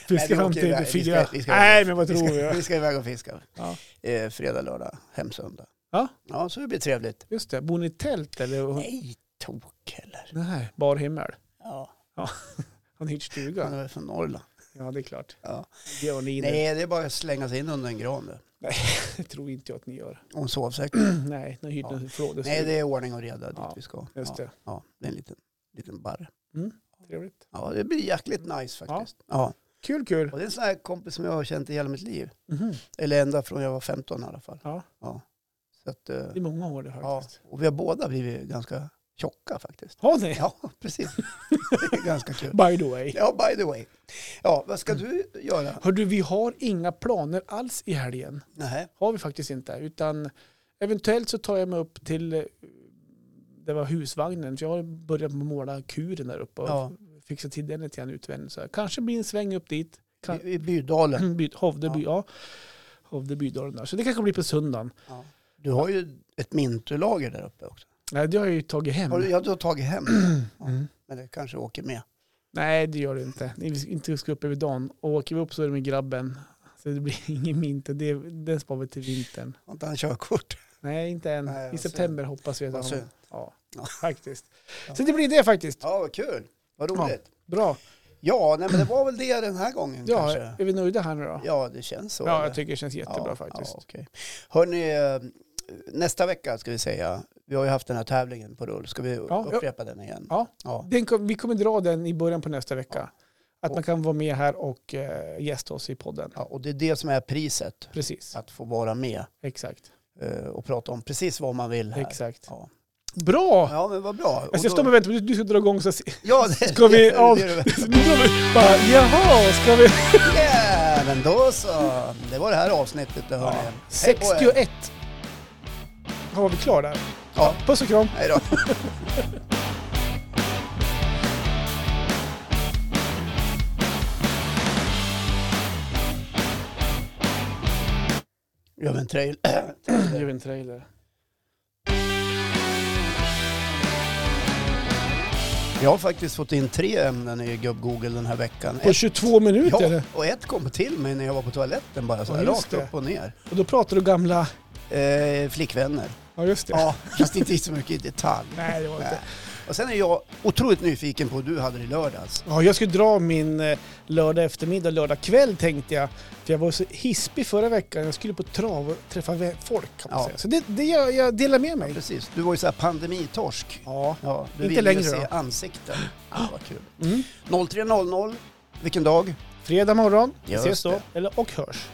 [SPEAKER 2] Fiska
[SPEAKER 1] vi
[SPEAKER 2] fram
[SPEAKER 1] åker
[SPEAKER 2] till
[SPEAKER 1] iväg. Vi ska-
[SPEAKER 2] fyra.
[SPEAKER 1] vi ska-
[SPEAKER 2] Nej, men vad
[SPEAKER 1] Vi
[SPEAKER 2] tror
[SPEAKER 1] ska, (laughs)
[SPEAKER 2] jag?
[SPEAKER 1] vi ska iväg och fiska.
[SPEAKER 2] Ja.
[SPEAKER 1] Eh, fredag, lördag, hem söndag.
[SPEAKER 2] Ja.
[SPEAKER 1] ja, så det blir trevligt.
[SPEAKER 2] Just det, bor ni i tält eller?
[SPEAKER 1] Nej, tok heller.
[SPEAKER 2] Nej, bar himmel.
[SPEAKER 1] Ja,
[SPEAKER 2] Han hyrt
[SPEAKER 1] han
[SPEAKER 2] stuga.
[SPEAKER 1] är väl från Norrland.
[SPEAKER 2] Ja, det är klart.
[SPEAKER 1] Ja.
[SPEAKER 2] Det gör ni nu.
[SPEAKER 1] Nej, det är bara att slänga sig in under en gran. du.
[SPEAKER 2] Det (laughs) tror inte jag att ni gör. (clears throat)
[SPEAKER 1] Och en sovsäck.
[SPEAKER 2] Mm. Nej, ni har hyrt
[SPEAKER 1] Ja.
[SPEAKER 2] en förråd.
[SPEAKER 1] Nej, det är ordning och reda dit
[SPEAKER 2] Ja,
[SPEAKER 1] vi ska.
[SPEAKER 2] Just
[SPEAKER 1] ja,
[SPEAKER 2] det,
[SPEAKER 1] ja, det är en liten, liten barr.
[SPEAKER 2] trevligt.
[SPEAKER 1] Ja, det blir jäkligt nice faktiskt. Ja.
[SPEAKER 2] Kul, kul.
[SPEAKER 1] Och det är en sån här kompis som jag har känt i hela mitt liv.
[SPEAKER 2] Mhm,
[SPEAKER 1] Eller ända från jag var 15 i alla fall.
[SPEAKER 2] Ja.
[SPEAKER 1] Så att, eh,
[SPEAKER 2] Det är många år det
[SPEAKER 1] ja.
[SPEAKER 2] faktiskt.
[SPEAKER 1] Och vi har båda blivit ganska tjocka
[SPEAKER 2] (laughs)
[SPEAKER 1] faktiskt.
[SPEAKER 2] Har ni?
[SPEAKER 1] Ja, precis. Det är ganska kul.
[SPEAKER 2] By the way.
[SPEAKER 1] Ja, by the way. Ja, vad ska du göra?
[SPEAKER 2] Hör du, vi har inga planer alls i helgen.
[SPEAKER 1] Nej.
[SPEAKER 2] Har vi faktiskt inte. Utan eventuellt så tar jag mig upp till eh, det var husvagnen. För jag har börjat måla kuren där uppe och
[SPEAKER 1] Ja.
[SPEAKER 2] fixa till den lite grann utvändigt. Så här. Kanske blir en sväng upp dit. Kan-
[SPEAKER 1] I, I Bydalen.
[SPEAKER 2] (clears throat) By- Hovde by, ja. Hovde bydalen där. Så det kanske blir på söndagen.
[SPEAKER 1] Ja. Du har ju ett mintulager där uppe också.
[SPEAKER 2] Nej, det har jag ju tagit hem.
[SPEAKER 1] Har du, ja, du har tagit hem Ja.
[SPEAKER 2] Mm.
[SPEAKER 1] Men det kanske åker med.
[SPEAKER 2] Nej, det gör det inte. Ni vi- inte ska upp över dagen. Och åker vi upp så är det med grabben. Så det blir (laughs) ingen vinter. Det, den sparar vi till vintern.
[SPEAKER 1] Har inte han
[SPEAKER 2] (laughs)
[SPEAKER 1] körkort?
[SPEAKER 2] Nej, inte än.
[SPEAKER 1] Nej,
[SPEAKER 2] I
[SPEAKER 1] vad
[SPEAKER 2] september hoppas vi att
[SPEAKER 1] Vad
[SPEAKER 2] han...
[SPEAKER 1] synd.
[SPEAKER 2] Ja,
[SPEAKER 1] Ja.
[SPEAKER 2] faktiskt.
[SPEAKER 1] Ja.
[SPEAKER 2] Så det blir det faktiskt.
[SPEAKER 1] Ja, vad kul. Vad roligt.
[SPEAKER 2] Bra.
[SPEAKER 1] Ja, nej, men det var väl det den här gången
[SPEAKER 2] Ja,
[SPEAKER 1] kanske.
[SPEAKER 2] är vi nöjda här nu då? Ja,
[SPEAKER 1] Ja, det känns så. eller?
[SPEAKER 2] jag tycker det känns jättebra
[SPEAKER 1] Ja,
[SPEAKER 2] faktiskt.
[SPEAKER 1] Ja, okej. Hörrni, eh, nästa vecka ska vi säga. Vi har ju haft den här tävlingen på rull. Ska vi
[SPEAKER 2] ja.
[SPEAKER 1] upprepa den igen?
[SPEAKER 2] Ja.
[SPEAKER 1] ja.
[SPEAKER 2] Den kom, vi kommer dra den i början på nästa vecka. Att man kan vara med här och eh, gästa oss i podden.
[SPEAKER 1] Ja, och det är det som är priset.
[SPEAKER 2] Precis,
[SPEAKER 1] Att få vara med
[SPEAKER 2] exakt.
[SPEAKER 1] eh, och prata om precis vad man vill här.
[SPEAKER 2] exakt.
[SPEAKER 1] Ja.
[SPEAKER 2] Bra!
[SPEAKER 1] Ja, men vad bra. Och
[SPEAKER 2] alltså, jag står
[SPEAKER 1] då-
[SPEAKER 2] med och väntar på att du ska dra igång. Så jag ser-
[SPEAKER 1] Ja, det,
[SPEAKER 2] ska vi
[SPEAKER 1] det,
[SPEAKER 2] av...
[SPEAKER 1] det är det
[SPEAKER 2] (laughs)
[SPEAKER 1] bästa.
[SPEAKER 2] Bara, Jaha, ska vi...
[SPEAKER 1] Yeah, men då så. Det var det här avsnittet. Då, hörni. Hej på er.
[SPEAKER 2] 61. Ja, var vi klara där?
[SPEAKER 1] Ja,
[SPEAKER 2] Puss och kram.
[SPEAKER 1] hej då. Gör vi en trail. (clears throat)
[SPEAKER 2] Nu gör vi en trailer.
[SPEAKER 1] Jag har faktiskt fått in tre ämnen i gubb-google den här veckan.
[SPEAKER 2] På 22 minuter?
[SPEAKER 1] ja,
[SPEAKER 2] eller?
[SPEAKER 1] och ett kom till mig när jag var på toaletten bara så här,
[SPEAKER 2] Ja, just
[SPEAKER 1] rakt
[SPEAKER 2] det.
[SPEAKER 1] upp och ner.
[SPEAKER 2] Och då pratar du gamla...
[SPEAKER 1] Eh, flickvänner.
[SPEAKER 2] Ja, just det.
[SPEAKER 1] Ja, (laughs) fast inte så mycket i detalj.
[SPEAKER 2] Nej, det var inte...
[SPEAKER 1] Nej. Och sen är jag otroligt nyfiken på hur du hade det i lördags.
[SPEAKER 2] Ja, jag skulle dra min eh, lördag eftermiddag, lördag kväll tänkte jag. För jag var så hispig förra veckan. Jag skulle på trav och träffa vä- folk kan man
[SPEAKER 1] Ja.
[SPEAKER 2] säga. Så det, det jag, jag delar med mig.
[SPEAKER 1] Precis, du var ju så här pandemitorsk.
[SPEAKER 2] Ja.
[SPEAKER 1] Ja, du
[SPEAKER 2] Inte
[SPEAKER 1] ville
[SPEAKER 2] längre
[SPEAKER 1] ju se
[SPEAKER 2] då.
[SPEAKER 1] ansikten. Ja, vad kul.
[SPEAKER 2] Mm.
[SPEAKER 1] 03.00, vilken dag?
[SPEAKER 2] Fredag morgon, vi
[SPEAKER 1] Just
[SPEAKER 2] ses då.
[SPEAKER 1] det.
[SPEAKER 2] Eller, och hörs.